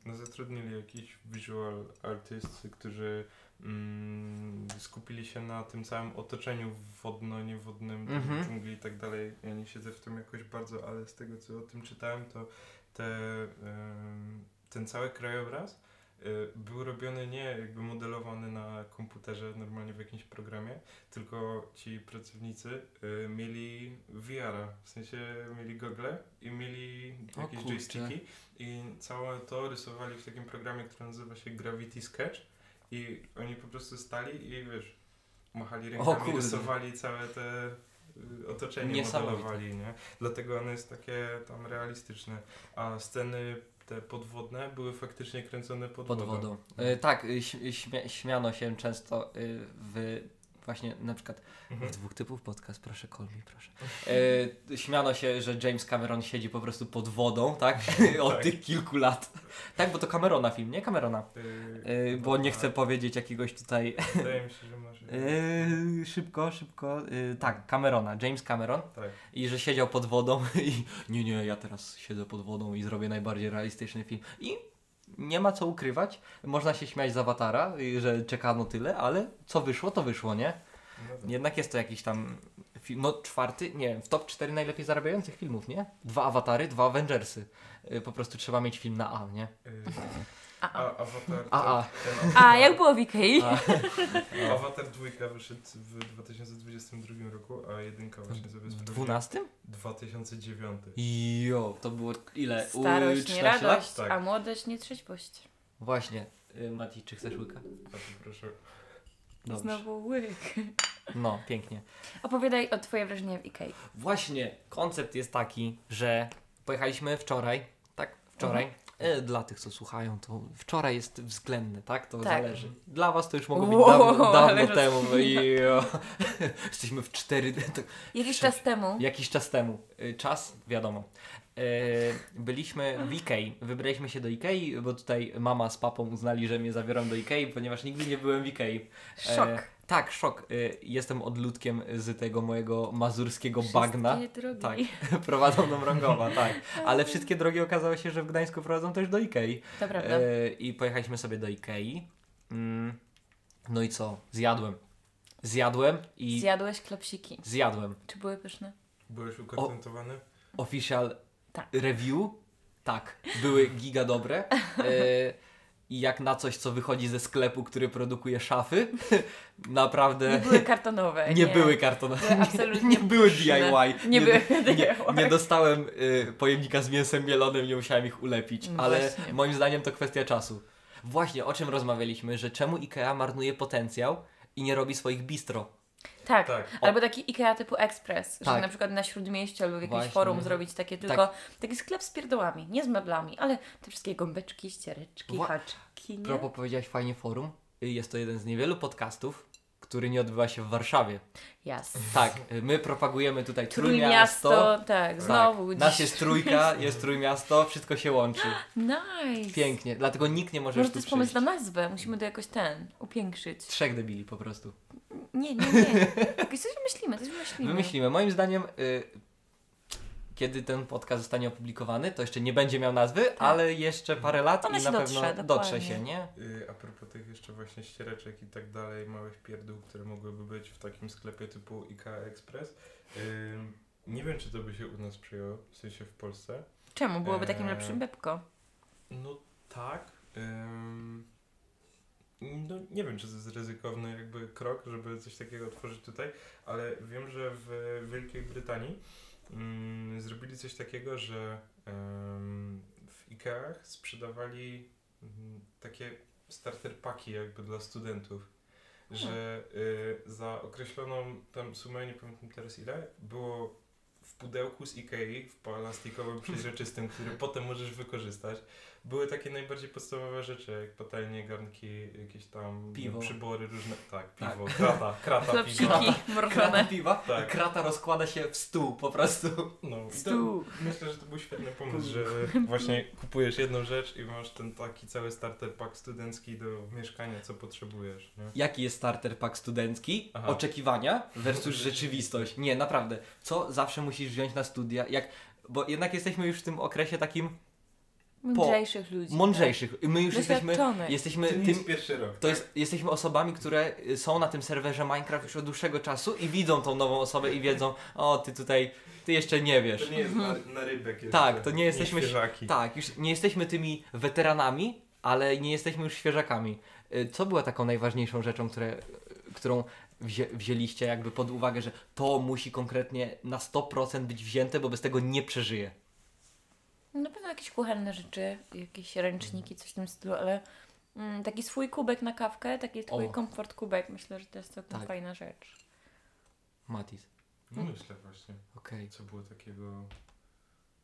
Speaker 3: no, zatrudnili jakiś visual artysty, którzy mm, skupili się na tym całym otoczeniu wodno-niewodnym, tej
Speaker 2: Mhm.
Speaker 3: dżungli i tak dalej. Ja nie siedzę w tym jakoś bardzo, ale z tego co o tym czytałem, to te, ym, ten cały krajobraz y, był robiony nie jakby modelowany na komputerze, normalnie w jakimś programie, tylko ci pracownicy y, mieli VR-a, w sensie mieli gogle i mieli
Speaker 2: O
Speaker 3: jakieś
Speaker 2: kurczę.
Speaker 3: joysticki i całe to rysowali w takim programie, który nazywa się Gravity Sketch i oni po prostu stali i wiesz, machali rękami,
Speaker 2: kurde.
Speaker 3: rysowali całe te y, otoczenie,
Speaker 2: Niesamowite.
Speaker 3: modelowali, nie? Dlatego ono jest takie tam realistyczne, a sceny te podwodne były faktycznie kręcone pod,
Speaker 2: pod
Speaker 3: wodą. Mhm.
Speaker 2: wodą. E, tak, y, ś- śmia- śmiano się często y, w właśnie na przykład w
Speaker 3: Mhm.
Speaker 2: dwóch typów podcast, proszę call me, proszę. E, śmiano się, że James Cameron siedzi po prostu pod wodą, tak? Od
Speaker 3: Tak.
Speaker 2: tych kilku lat. Tak, bo to Camerona film, nie? Camerona.
Speaker 3: Y,
Speaker 2: E, bo nie chcę powiedzieć jakiegoś tutaj...
Speaker 3: Wydaje mi się, że masz...
Speaker 2: E, szybko, szybko. E, tak, Camerona, James Cameron.
Speaker 3: Tak.
Speaker 2: I że siedział pod wodą i nie, nie, ja teraz siedzę pod wodą i zrobię najbardziej realistyczny film. I nie ma co ukrywać, można się śmiać z awatara, i że czekano tyle, ale co wyszło, to wyszło, nie?
Speaker 3: No tak.
Speaker 2: Jednak jest to jakiś tam film, no czwarty, nie wiem, w top 4 najlepiej zarabiających filmów, nie? Dwa awatary, dwa Avengersy. Y, Po prostu trzeba mieć film na A, nie?
Speaker 3: Y,
Speaker 1: A, a.
Speaker 3: A, Avatar...
Speaker 2: A, a.
Speaker 3: ten- ten
Speaker 1: A,
Speaker 3: Avatar-
Speaker 1: jak było w Ikei?
Speaker 2: A,
Speaker 3: Avatar 2 wyszedł w 2022 roku, a jedynka właśnie sobie
Speaker 2: w
Speaker 3: sprawdził.
Speaker 2: dwunastym?
Speaker 3: 2009.
Speaker 2: Jo, to było ile? U,
Speaker 1: Starość, nie
Speaker 2: 14 lat?
Speaker 1: radość,
Speaker 3: Tak.
Speaker 1: a młodość, nie trzeźwość.
Speaker 2: Właśnie. Y, Mati, czy chcesz łyka?
Speaker 3: A przepraszam.
Speaker 2: Dobrze.
Speaker 1: Znowu łyk.
Speaker 2: No, pięknie.
Speaker 1: Opowiadaj o Twoje wrażenia w Ikei.
Speaker 2: Właśnie, koncept jest taki, że pojechaliśmy wczoraj, tak? Wczoraj.
Speaker 1: Mhm.
Speaker 2: E, Dla tych, co słuchają, to wczoraj jest względny, tak? To
Speaker 1: Tak.
Speaker 2: zależy. Dla Was to już mogło być
Speaker 1: Wow,
Speaker 2: dawno,
Speaker 1: ale roz-
Speaker 2: dawno temu. I, o, jesteśmy w 4. Tak,
Speaker 1: Jakiś
Speaker 2: Przed-
Speaker 1: czas temu
Speaker 2: jakiś czas temu. Y, Czas, wiadomo. E, Byliśmy w Ikei. Wybraliśmy się do Ikei, bo tutaj mama z papą uznali, że mnie zabiorą do Ikei, ponieważ nigdy nie byłem w Ikei.
Speaker 1: szok.
Speaker 2: E, tak, szok. Y, Jestem odludkiem z tego mojego mazurskiego bagna.
Speaker 1: Wszystkie drogi.
Speaker 2: Tak. Prowadzą do Mrągowa, tak. Ale wszystkie drogi okazało się, że w Gdańsku prowadzą też do Ikei.
Speaker 1: To prawda.
Speaker 2: E, I pojechaliśmy sobie do Ikei. Mm. No i co? Zjadłem. Zjadłem i
Speaker 1: Zjadłeś klopsiki.
Speaker 2: zjadłem.
Speaker 1: Czy były pyszne?
Speaker 3: Byłeś ukontentowany?
Speaker 2: Official
Speaker 1: Tak.
Speaker 2: review. Tak, były giga dobre. E, I jak na coś, co wychodzi ze sklepu, który produkuje szafy,
Speaker 1: Nie
Speaker 2: naprawdę
Speaker 1: były kartonowe.
Speaker 2: E, nie, były kartonowe.
Speaker 1: Były absolutnie
Speaker 2: nie były
Speaker 1: pyszne.
Speaker 2: DIY.
Speaker 1: Nie, były
Speaker 2: Nie,
Speaker 1: DIY.
Speaker 2: nie dostałem y, pojemnika z mięsem mielonym, nie musiałem ich ulepić,
Speaker 1: No
Speaker 2: ale
Speaker 1: właśnie.
Speaker 2: moim zdaniem to kwestia czasu. Właśnie o czym rozmawialiśmy, że czemu IKEA marnuje potencjał i nie robi swoich bistro.
Speaker 1: Tak.
Speaker 3: Tak.
Speaker 1: Albo taki IKEA typu Express, że
Speaker 2: Tak.
Speaker 1: na przykład na Śródmieściu albo w jakimś
Speaker 2: Właśnie. Tak.
Speaker 1: forum zrobić takie tylko taki sklep z pierdołami, nie z meblami, ale te wszystkie gąbeczki, ściereczki,
Speaker 2: Wła-
Speaker 1: haczki, nie?
Speaker 2: Propo powiedziałaś fajnie forum. Y, Jest to jeden z niewielu podcastów, który nie odbywa się w Warszawie.
Speaker 1: Jasne.
Speaker 2: Tak, y, my propagujemy tutaj Trójmiasto.
Speaker 1: Trójmiasto, tak, znowu.
Speaker 2: tak.
Speaker 1: dziś.
Speaker 2: Nas jest trójka, jest Trójmiasto, wszystko się łączy.
Speaker 1: Nice.
Speaker 2: Pięknie, dlatego nikt nie może
Speaker 1: Może
Speaker 2: już
Speaker 1: to
Speaker 2: tu
Speaker 1: jest pomysł
Speaker 2: przyjść.
Speaker 1: na nazwę, musimy to jakoś ten, upiększyć.
Speaker 2: Trzech debili po prostu.
Speaker 1: Nie, nie, nie. Jakoś coś wymyślimy, coś wymyślimy.
Speaker 2: Wymyślimy. Moim zdaniem, y, kiedy ten podcast zostanie opublikowany, to jeszcze nie będzie miał nazwy, ale jeszcze parę lat
Speaker 1: Ona Tak.
Speaker 2: i
Speaker 1: się
Speaker 2: na
Speaker 1: dotrze,
Speaker 2: pewno
Speaker 1: dokładnie.
Speaker 2: dotrze się, nie?
Speaker 3: Yy, a propos tych jeszcze właśnie ściereczek i tak dalej, małych pierdół, które mogłyby być w takim sklepie typu IKEA Express, yy, nie wiem, czy to by się u nas przyjęło, w sensie w Polsce.
Speaker 1: Czemu? Byłoby takim
Speaker 3: Eee.
Speaker 1: lepszym bebko.
Speaker 3: No tak. ym, no nie wiem, czy to jest ryzykowny jakby krok, żeby coś takiego otworzyć tutaj, ale wiem, że w Wielkiej Brytanii mm, zrobili coś takiego, że em, w Ikeach sprzedawali mm, takie starter paki jakby dla studentów, że y, za określoną tam sumę, nie pamiętam teraz ile, było w pudełku z Ikei, w plastikowym przeźroczystym, który potem możesz wykorzystać, były takie najbardziej podstawowe rzeczy, jak patelnie, garnki, jakieś tam
Speaker 2: Piwo.
Speaker 3: przybory różne, tak,
Speaker 2: Tak.
Speaker 3: piwo, krata, krata piwa.
Speaker 1: Chlapsiki
Speaker 2: Krata
Speaker 1: mrożone.
Speaker 2: piwa,
Speaker 3: Tak.
Speaker 2: krata rozkłada się w stół po prostu.
Speaker 3: No, i to,
Speaker 1: Stół.
Speaker 3: Myślę, że to był świetny pomysł, że właśnie kupujesz jedną rzecz i masz ten taki cały starter pack studencki do mieszkania, co potrzebujesz, nie?
Speaker 2: Jaki jest starter pack studencki?
Speaker 3: Aha.
Speaker 2: Oczekiwania versus rzeczywistość. Nie, naprawdę. Co zawsze musisz wziąć na studia? Jak, bo jednak jesteśmy już w tym okresie takim
Speaker 1: Mądrzejszych ludzi. tak.
Speaker 2: mądrzejszych. My już jesteśmy,
Speaker 1: Doświadczonych.
Speaker 2: jesteśmy
Speaker 3: To nie
Speaker 2: tym,
Speaker 3: jest pierwszy rok. tak?
Speaker 2: to jest, jesteśmy osobami, które y, są na tym serwerze Minecraft już od dłuższego czasu i widzą tą nową osobę i wiedzą, o ty tutaj, ty jeszcze nie wiesz.
Speaker 3: To nie jest
Speaker 1: Mhm.
Speaker 3: na, na rybek jeszcze.
Speaker 2: Tak, to nie jesteśmy-
Speaker 3: świeżaki.
Speaker 2: Tak, już nie jesteśmy tymi weteranami, ale nie jesteśmy już świeżakami. Y, Co była taką najważniejszą rzeczą, które, y, którą wzię, wzięliście jakby pod uwagę, że to musi konkretnie na 100% być wzięte, bo bez tego nie przeżyję?
Speaker 1: No, Na pewno jakieś kuchenne rzeczy, jakieś ręczniki, coś w tym stylu, ale mm, taki swój kubek na kawkę, taki twój
Speaker 2: O.
Speaker 1: komfort kubek, myślę, że to jest całkiem
Speaker 2: Tak.
Speaker 1: fajna rzecz.
Speaker 2: Matis,
Speaker 3: No myślę właśnie,
Speaker 2: okej.
Speaker 3: co było takiego...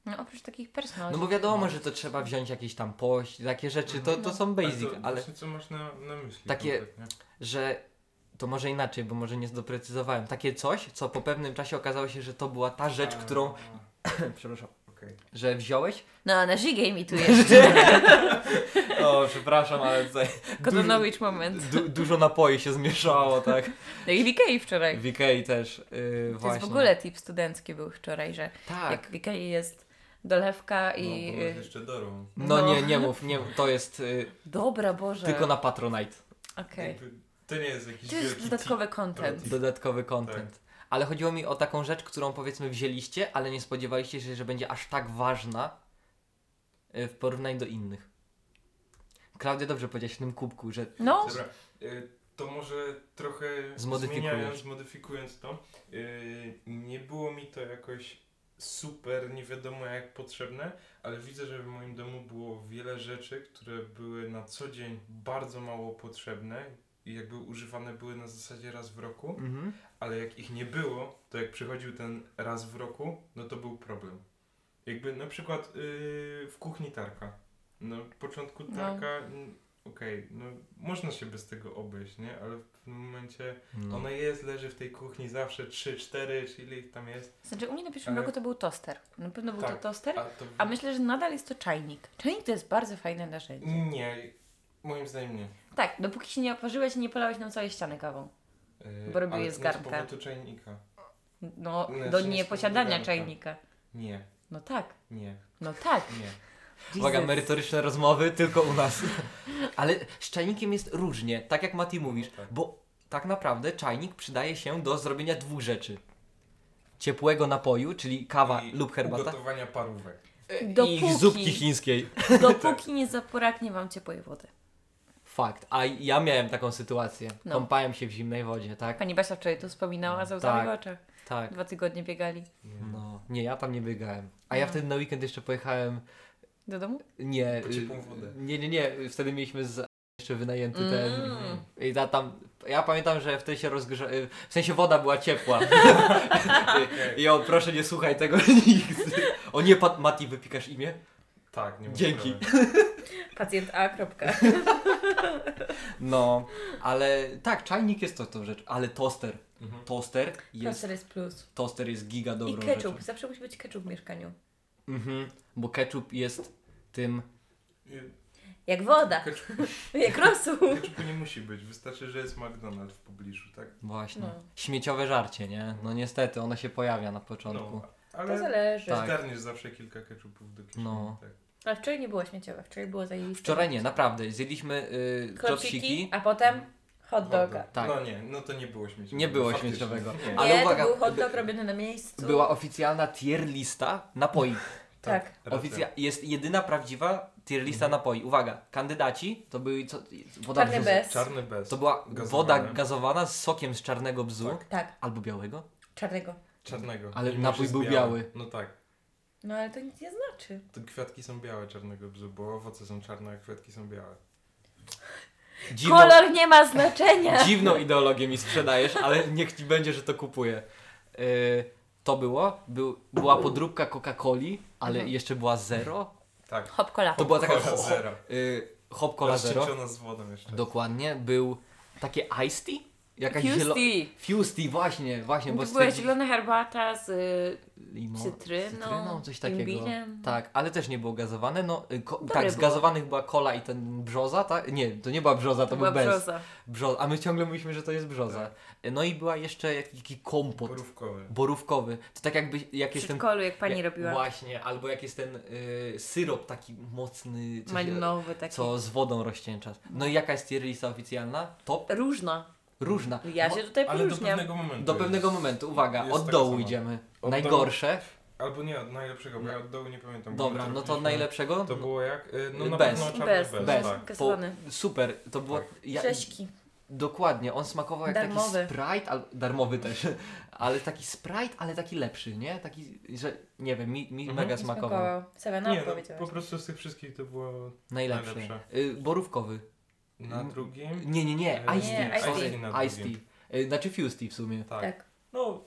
Speaker 1: No oprócz takich personal.
Speaker 2: No bo wiadomo, że to trzeba wziąć jakieś tam pość, takie rzeczy, to, to są basic,
Speaker 3: ale... To,
Speaker 2: ale...
Speaker 3: Właśnie, co masz na, na myśli?
Speaker 2: Takie-
Speaker 3: konkretnie?
Speaker 2: że to może inaczej, bo może nie doprecyzowałem. Takie coś, co po pewnym czasie okazało się, że to była ta rzecz,
Speaker 3: A,
Speaker 2: którą, Tak. przepraszam,
Speaker 3: Okej.
Speaker 2: że wziąłeś.
Speaker 1: No, na żigej mi tu jeszcze.
Speaker 2: O, przepraszam, ale tutaj
Speaker 1: Kodonowicz moment.
Speaker 2: du, dużo napoi się zmieszało, tak.
Speaker 1: No i w Ikei wczoraj.
Speaker 2: W Ikei też, yy,
Speaker 1: To
Speaker 2: właśnie.
Speaker 1: jest w ogóle tip studencki był wczoraj, że
Speaker 2: Tak.
Speaker 1: jak w Ikei jest dolewka i...
Speaker 3: No, bo masz jeszcze Dorą.
Speaker 2: No,
Speaker 1: No.
Speaker 2: nie, nie mów, nie, to jest y,
Speaker 1: Dobra Boże.
Speaker 2: tylko na Patronite.
Speaker 1: Okej.
Speaker 3: Jakby To nie jest jakiś
Speaker 1: To jest
Speaker 3: wielki
Speaker 1: dodatkowy content.
Speaker 2: Dodatkowy
Speaker 3: Tak.
Speaker 2: content. Ale chodziło mi o taką rzecz, którą powiedzmy wzięliście, ale nie spodziewaliście się, że będzie aż tak ważna y, w porównaniu do innych. Klaudia dobrze powiedziałaś w tym kubku, że
Speaker 1: No,
Speaker 3: Dobra, y, to może trochę
Speaker 2: Zmodyfikujesz.
Speaker 3: zmieniając, modyfikując to, y, nie było mi to jakoś super, nie wiadomo jak potrzebne, ale widzę, że w moim domu było wiele rzeczy, które były na co dzień bardzo mało potrzebne i jakby używane były na zasadzie raz w roku,
Speaker 2: mhm.
Speaker 3: ale jak ich nie było, to jak przychodził ten raz w roku, no to był problem. Jakby na przykład y, w kuchni tarka. No, w początku
Speaker 1: No.
Speaker 3: tarka, mm, okej, no można się bez tego obejść, nie? Ale w pewnym momencie
Speaker 2: no.
Speaker 3: ona jest, leży w tej kuchni zawsze 3-4, czy ile ich tam jest.
Speaker 1: znaczy u mnie na pierwszym
Speaker 3: Ale-
Speaker 1: roku to był toster. Na pewno był
Speaker 3: Tak.
Speaker 1: to toster.
Speaker 3: A to...
Speaker 1: A myślę, że nadal jest to czajnik. Czajnik to jest bardzo fajne narzędzie.
Speaker 3: Mm. Nie, moim zdaniem nie.
Speaker 1: Tak, dopóki się nie oparzyłeś i nie polałeś nam całej ściany kawą.
Speaker 3: Yy,
Speaker 1: Bo robił
Speaker 3: ale
Speaker 1: je z
Speaker 3: to nie
Speaker 1: garnka.
Speaker 3: powodu czajnika.
Speaker 1: No,
Speaker 3: Znaczy,
Speaker 1: do
Speaker 3: nie
Speaker 1: nieposiadania
Speaker 3: sprawdzałem,
Speaker 1: czajnika.
Speaker 3: Nie,
Speaker 1: No tak,
Speaker 3: nie,
Speaker 1: no tak.
Speaker 3: nie.
Speaker 2: Uwaga,
Speaker 1: Jesus.
Speaker 2: merytoryczne rozmowy tylko u nas. Ale z czajnikiem jest różnie, tak jak Mati mówisz,
Speaker 3: No tak.
Speaker 2: bo tak naprawdę czajnik przydaje się do zrobienia dwóch rzeczy. Ciepłego napoju, czyli kawa
Speaker 3: I
Speaker 2: lub herbata
Speaker 3: Ugotowania parówek.
Speaker 2: i
Speaker 1: Dopóki,
Speaker 2: zupki chińskiej.
Speaker 1: dopóki nie zaporaknie Wam ciepłej wody.
Speaker 2: Fakt. A ja miałem taką sytuację.
Speaker 1: No.
Speaker 2: Kąpałem się w zimnej wodzie, tak?
Speaker 1: Pani Basia wczoraj tu wspominała za łzami
Speaker 2: Tak.
Speaker 1: w oczach.
Speaker 2: Tak.
Speaker 1: Dwa tygodnie biegali
Speaker 2: No. Nie, ja tam nie biegałem. A ja
Speaker 1: No.
Speaker 2: wtedy na weekend jeszcze pojechałem.
Speaker 1: do domu.
Speaker 2: Nie.
Speaker 3: Po
Speaker 2: y,
Speaker 3: ciepłą wodę.
Speaker 2: Nie, nie, nie. Wtedy mieliśmy z jeszcze wynajęty ten
Speaker 1: Mm.
Speaker 2: I ta, tam, ja pamiętam, że wtedy się rozgrza... y, W sensie woda była ciepła. I o, proszę nie słuchaj tego nikt. O nie, Pat, Mati, wypikasz imię?
Speaker 3: Tak, nie ma
Speaker 2: Dzięki.
Speaker 3: sprawy.
Speaker 4: Pacjent A, kropka.
Speaker 2: No, ale tak, czajnik jest to tą rzecz, ale toster.
Speaker 3: Mhm.
Speaker 2: Toster jest,
Speaker 4: Toster jest plus.
Speaker 2: toster jest giga
Speaker 4: I
Speaker 2: dobrą
Speaker 4: ketchup.
Speaker 2: rzeczą.
Speaker 4: Zawsze musi być ketchup w mieszkaniu.
Speaker 2: Mhm, bo ketchup jest tym...
Speaker 3: Y,
Speaker 4: Jak woda,
Speaker 3: Ketchup,
Speaker 4: jak rosół.
Speaker 3: ketchupu Znaczy, nie musi być, wystarczy, że jest McDonald's w pobliżu, tak?
Speaker 2: Właśnie.
Speaker 1: No.
Speaker 2: Śmieciowe żarcie, nie? No niestety, ono się pojawia na początku.
Speaker 3: No,
Speaker 4: To
Speaker 3: ale
Speaker 4: zależy.
Speaker 2: Tak.
Speaker 3: zgarniesz zawsze kilka ketchupów do kieszeni.
Speaker 2: No.
Speaker 3: Tak.
Speaker 4: Ale wczoraj nie było śmieciowe, wczoraj było zajebiste.
Speaker 2: Wczoraj nie, naprawdę. Zjedliśmy y, chopsiki.
Speaker 4: Klopsiki, a potem hot doga.
Speaker 3: Wodę.
Speaker 2: Tak.
Speaker 3: No nie, no to nie było śmieciowego.
Speaker 2: Nie było
Speaker 3: Faktycznie.
Speaker 2: śmieciowego.
Speaker 3: Nie.
Speaker 2: Ale
Speaker 4: nie,
Speaker 2: uwaga,
Speaker 4: to był hot dog robiony na miejscu.
Speaker 2: Była oficjalna tier lista napoi.
Speaker 4: Tak.
Speaker 3: racja. Mhm.
Speaker 2: Oficja jest jedyna prawdziwa tier lista napoi. Uwaga, kandydaci to były co, woda
Speaker 4: Czarny
Speaker 2: bzu.
Speaker 4: bez.
Speaker 3: Czarny bez.
Speaker 2: To była
Speaker 3: Gazowane.
Speaker 2: woda gazowana z sokiem z czarnego bzu
Speaker 4: Tak,
Speaker 2: albo białego.
Speaker 4: czarnego.
Speaker 3: Czarnego.
Speaker 2: Ale
Speaker 3: Mimo,
Speaker 2: napój
Speaker 3: że
Speaker 2: był
Speaker 3: jest
Speaker 2: biały.
Speaker 3: No tak.
Speaker 4: No ale to nic nie znaczy.
Speaker 3: To kwiatki są białe czarnego bzu, bo owoce są czarne, a kwiatki są białe.
Speaker 2: Dziwną,
Speaker 1: Kolor nie ma znaczenia.
Speaker 2: dziwną ideologię mi sprzedajesz, ale niech ci będzie, że to kupuję. Yy, to było, był, była podróbka Coca-Coli, ale
Speaker 1: Mhm.
Speaker 2: jeszcze była zero.
Speaker 3: Tak.
Speaker 1: Hop cola.
Speaker 2: To była taka
Speaker 3: Cola zero.
Speaker 2: Yy, hop cola zero.
Speaker 3: Rozcieńczona z wodą jeszcze.
Speaker 2: Dokładnie, był takie iced tea? Jakaś zielo...
Speaker 1: Kiusty.
Speaker 2: Fused tea, właśnie, właśnie,
Speaker 1: To
Speaker 2: bo
Speaker 1: była stwierdzi...
Speaker 2: stwierdzi-
Speaker 1: zielona herbata z
Speaker 4: y,
Speaker 2: Limo...
Speaker 1: cytryną,
Speaker 2: cytryną, coś takiego.
Speaker 1: imbirem.
Speaker 2: Tak, ale też nie było gazowane. No, y, ko-
Speaker 1: Dobre
Speaker 2: tak, z
Speaker 1: było.
Speaker 2: gazowanych była kola i ten brzoza, tak? Nie, to nie była brzoza, to,
Speaker 1: to
Speaker 2: był
Speaker 1: była
Speaker 2: bez.
Speaker 1: brzoza.
Speaker 2: Brzo- a my ciągle mówiliśmy, że to jest brzoza. No i była jeszcze jakiś taki kompot
Speaker 3: Porówkowy.
Speaker 2: borówkowy. To tak jakby jak
Speaker 1: W
Speaker 2: jest ten...
Speaker 1: przedszkolu, jak pani
Speaker 2: jak-
Speaker 1: robiła.
Speaker 2: Właśnie, albo jak jest ten y, syrop taki mocny, coś,
Speaker 1: Malinowy taki.
Speaker 2: co z wodą rozcieńcza. No i jaka jest tier lista oficjalna? Top?
Speaker 1: Różna.
Speaker 2: Różna.
Speaker 1: Ja się tutaj
Speaker 3: Ale do
Speaker 1: poróżniam.
Speaker 3: pewnego momentu.
Speaker 2: Do pewnego momentu, uwaga,
Speaker 3: jest
Speaker 2: od
Speaker 3: taka
Speaker 2: dołu
Speaker 3: sama.
Speaker 2: idziemy.
Speaker 3: Od
Speaker 2: Najgorsze.
Speaker 3: Albo nie, od najlepszego, bo ja od dołu nie pamiętam. bo
Speaker 2: No. Dobra,
Speaker 3: my
Speaker 2: no to
Speaker 3: robiliśmy-
Speaker 2: najlepszego.
Speaker 3: To było jak? Y, No na
Speaker 2: Bez.
Speaker 3: pewno czarny
Speaker 1: Bez,
Speaker 3: bez.
Speaker 2: bez.
Speaker 3: tak.
Speaker 2: po,
Speaker 1: Kasowany.
Speaker 2: super, to było. Ja,
Speaker 4: Grześki.
Speaker 2: dokładnie, on smakował jak
Speaker 4: Darmowy.
Speaker 2: taki sprite, al, darmowy też, ale taki sprite, ale taki lepszy, nie? Taki, że nie wiem, mi, mi
Speaker 3: Mhm.
Speaker 2: mega smakował.
Speaker 4: Seven
Speaker 3: Nie,
Speaker 4: Up
Speaker 3: no, po
Speaker 4: powiedziałeś.
Speaker 3: prostu z tych wszystkich to było
Speaker 2: Najlepszy.
Speaker 3: Najlepsze.
Speaker 2: Y, borówkowy.
Speaker 3: na
Speaker 2: Mm.
Speaker 3: drugim.
Speaker 2: Nie, nie, nie,
Speaker 3: Nie,
Speaker 2: Ice Tea.
Speaker 4: Ice
Speaker 2: sorry,
Speaker 4: Tea.
Speaker 3: Ice Tea na
Speaker 2: Ice
Speaker 3: drugim.
Speaker 2: Tea. Y, Znaczy Fusty w sumie.
Speaker 3: Tak.
Speaker 4: Tak.
Speaker 3: No,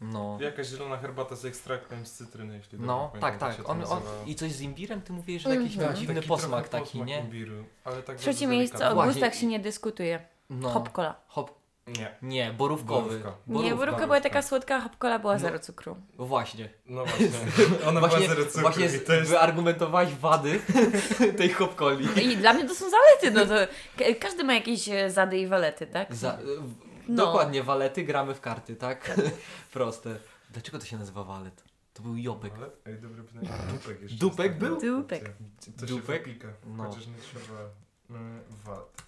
Speaker 2: No.
Speaker 3: jakaś zielona herbata z ekstraktem z cytryny, jeśli dobrze
Speaker 2: No,
Speaker 3: pamiętam,
Speaker 2: tak,
Speaker 3: jak się
Speaker 2: tak.
Speaker 3: to
Speaker 2: On, on,
Speaker 3: nazywało. Tak,
Speaker 2: I coś z imbirem? Ty mówisz, że jakiś
Speaker 1: Mhm.
Speaker 2: miał dziwny
Speaker 3: Taki
Speaker 2: posmak
Speaker 3: trochę
Speaker 2: taki,
Speaker 3: posmak
Speaker 2: nie?
Speaker 3: Imbiru, ale tak
Speaker 1: Trzecie
Speaker 3: bardzo
Speaker 1: miejsce, o
Speaker 3: delikatny.
Speaker 2: Właśnie.
Speaker 1: gustach się nie dyskutuje.
Speaker 2: No.
Speaker 1: Hop cola.
Speaker 2: Hop.
Speaker 3: Nie,
Speaker 2: Nie, borówkowy.
Speaker 3: Borówka.
Speaker 1: Nie, borówka była taka słodka, a hop cola była
Speaker 2: No.
Speaker 1: zero cukru.
Speaker 2: Właśnie.
Speaker 3: no właśnie. Ona
Speaker 2: właśnie,
Speaker 3: była zero cukru
Speaker 2: właśnie
Speaker 3: i to jest...
Speaker 2: wyargumentowałeś wady tej hopkoli.
Speaker 1: I dla mnie to są zalety, no to ka- każdy ma jakieś e, zady i walety, tak?
Speaker 2: Za, w-
Speaker 1: No.
Speaker 2: Dokładnie, walety gramy w karty, tak? Proste. Dlaczego to się nazywa walet? To był jopek.
Speaker 3: Ale, ej, dobre pytanie. Dupek jeszcze.
Speaker 2: Dupek
Speaker 3: jest taka
Speaker 2: był?
Speaker 3: opcja.
Speaker 1: Dupek.
Speaker 3: To
Speaker 2: Dupek?
Speaker 3: się wypika,
Speaker 2: No.
Speaker 3: chociaż nie trzeba y, wad.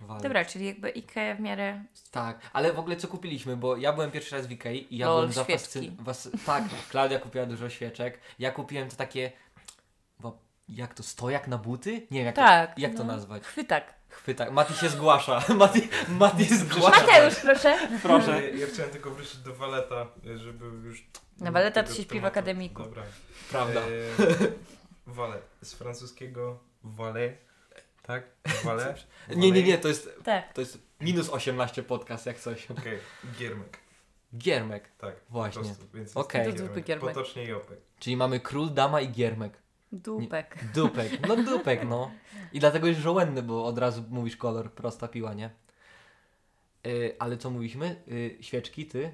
Speaker 2: Walet.
Speaker 1: Dobra, czyli jakby Ikea w miarę...
Speaker 2: Tak, ale w ogóle co kupiliśmy, bo ja byłem pierwszy raz w Ikei i ja
Speaker 1: Lol,
Speaker 2: byłem
Speaker 1: No, świeczki.
Speaker 2: zafascynowany. Was... Tak, Klaudia kupiła dużo świeczek. Ja kupiłem to takie, chyba, jak to, stojak na buty? Nie wiem, jak,
Speaker 1: Tak,
Speaker 2: to, jak to
Speaker 1: no.
Speaker 2: nazwać.
Speaker 1: Chwytak.
Speaker 2: Chwyta. Mati się zgłasza. Mati, Mati zgłasza.
Speaker 1: Mateusz, proszę.
Speaker 2: Proszę.
Speaker 3: Ja, ja chciałem tylko wrócić do waleta, y, żeby już...
Speaker 1: Na waleta to
Speaker 3: tego
Speaker 1: się śpi w
Speaker 3: tematu.
Speaker 1: akademiku.
Speaker 3: Dobra.
Speaker 2: Prawda.
Speaker 3: E, Wale. Z francuskiego wale. Tak? Wale.
Speaker 2: Nie, nie, nie, to jest,
Speaker 1: Tak.
Speaker 2: to jest minus 18 podcast, jak coś.
Speaker 3: Okej, giermek.
Speaker 2: Giermek.
Speaker 3: Tak.
Speaker 2: Właśnie.
Speaker 3: Po prostu, więc
Speaker 2: Okej.
Speaker 3: jest
Speaker 1: To zwykły giermek.
Speaker 3: Potocznie jopek.
Speaker 2: Czyli mamy król, dama i giermek.
Speaker 1: Dupek.
Speaker 2: Dupek. No dupek, no. I dlatego jest żołędny, bo od razu mówisz kolor, prosta piła, nie? Yy, ale co mówiliśmy? Yy, świeczki, ty?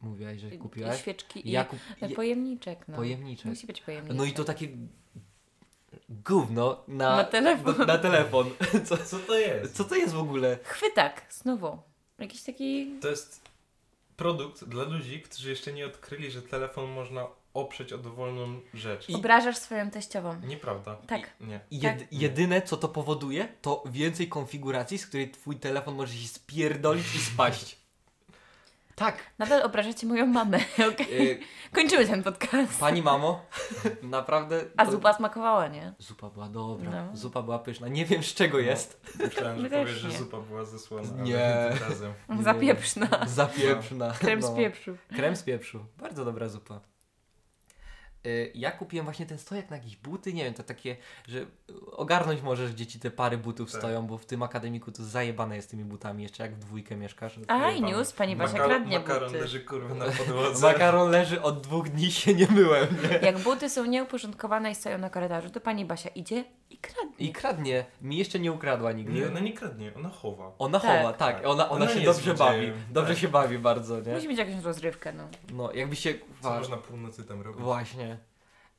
Speaker 2: Mówiłaś, że
Speaker 1: I
Speaker 2: kupiłaś?
Speaker 1: Y, świeczki i
Speaker 2: Ja kup...
Speaker 1: e,
Speaker 2: je-
Speaker 1: pojemniczek, no.
Speaker 2: Pojemniczek.
Speaker 1: Musi być pojemniczek.
Speaker 2: No i to takie gówno na,
Speaker 1: Na telefon.
Speaker 2: na telefon. Co,
Speaker 3: Co to jest?
Speaker 2: co to jest w ogóle?
Speaker 1: Chwytak, znowu. Jakiś taki...
Speaker 3: To jest produkt dla ludzi, którzy jeszcze nie odkryli, że telefon można oprzeć o dowolną rzecz.
Speaker 2: I-
Speaker 1: Obrażasz swoją teściową.
Speaker 3: Nieprawda.
Speaker 1: Tak.
Speaker 3: I, nie.
Speaker 2: Jed, jedyne, co to powoduje, to więcej konfiguracji, z której twój telefon może się spierdolić i spaść. Tak.
Speaker 1: Nadal obrażacie moją mamę, okej?
Speaker 2: Yy,
Speaker 1: Kończymy ten podcast.
Speaker 2: pani mamo, naprawdę...
Speaker 1: A
Speaker 2: to-
Speaker 1: zupa smakowała, nie?
Speaker 2: Zupa była dobra,
Speaker 1: No.
Speaker 2: zupa była pyszna. Nie wiem z
Speaker 3: No.
Speaker 2: czego jest.
Speaker 3: Myślałem, że
Speaker 1: My też
Speaker 3: powiesz, że
Speaker 1: nie.
Speaker 3: zupa była zesłana. ale
Speaker 2: Nie.
Speaker 3: tym Razem.
Speaker 2: Nie.
Speaker 1: Zapieprzna.
Speaker 2: Zapieprzna.
Speaker 1: Krem z
Speaker 2: No.
Speaker 1: pieprzu.
Speaker 2: Krem z pieprzu. Bardzo dobra zupa. Y, Ja kupiłem właśnie ten stojak na jakieś buty, nie wiem, to takie, że ogarnąć możesz gdzie ci te pary butów
Speaker 3: Tak.
Speaker 2: stoją, bo w tym akademiku to zajebane jest tymi butami, jeszcze jak w dwójkę mieszkasz.
Speaker 1: A, i
Speaker 3: Jebany.
Speaker 1: news, pani Basia
Speaker 3: Makaro-
Speaker 1: kradnie
Speaker 3: Makaron
Speaker 1: buty.
Speaker 3: leży kurwa na podłodze.
Speaker 2: Makaron leży od dwóch dni się nie myłem. Nie?
Speaker 1: Jak buty są nieuporządkowane i stoją na korytarzu, to pani Basia idzie i kradnie.
Speaker 2: I kradnie, mi jeszcze nie ukradła
Speaker 3: Nie,
Speaker 2: nigdy.
Speaker 3: ona nie kradnie, ona chowa.
Speaker 2: Ona
Speaker 1: Tak.
Speaker 2: chowa, tak, ona, ona
Speaker 3: Ona
Speaker 2: się
Speaker 3: jest
Speaker 2: dobrze bawi,
Speaker 3: złodziejem,
Speaker 2: dobrze
Speaker 3: tak.
Speaker 2: się bawi bardzo, nie?
Speaker 1: Musi mieć jakąś rozrywkę, no.
Speaker 2: No, jakbyście...
Speaker 3: Co
Speaker 2: wa-
Speaker 3: można północy tam robić?
Speaker 2: Właśnie.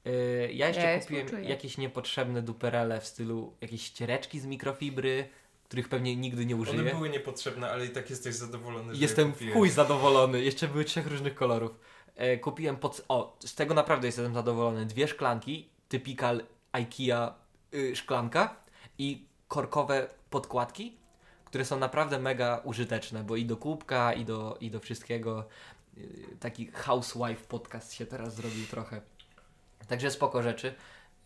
Speaker 2: Y, ja jeszcze
Speaker 1: Ja je
Speaker 2: kupiłem
Speaker 1: współczuję.
Speaker 2: jakieś niepotrzebne duperele w stylu jakieś ściereczki z mikrofibry, których pewnie nigdy nie użyję.
Speaker 3: One były niepotrzebne, ale i tak jesteś zadowolony, że
Speaker 2: Jestem
Speaker 3: je
Speaker 2: w
Speaker 3: kupiłeś.
Speaker 2: chuj zadowolony. Jeszcze były trzech różnych kolorów. E, kupiłem pod... O, z tego naprawdę jestem zadowolony. Dwie szklanki, typical IKEA y, szklanka i korkowe podkładki, które są naprawdę mega użyteczne, bo i do kubka, i do, i do wszystkiego. Y, taki housewife podcast się teraz zrobił trochę. Także spoko rzeczy.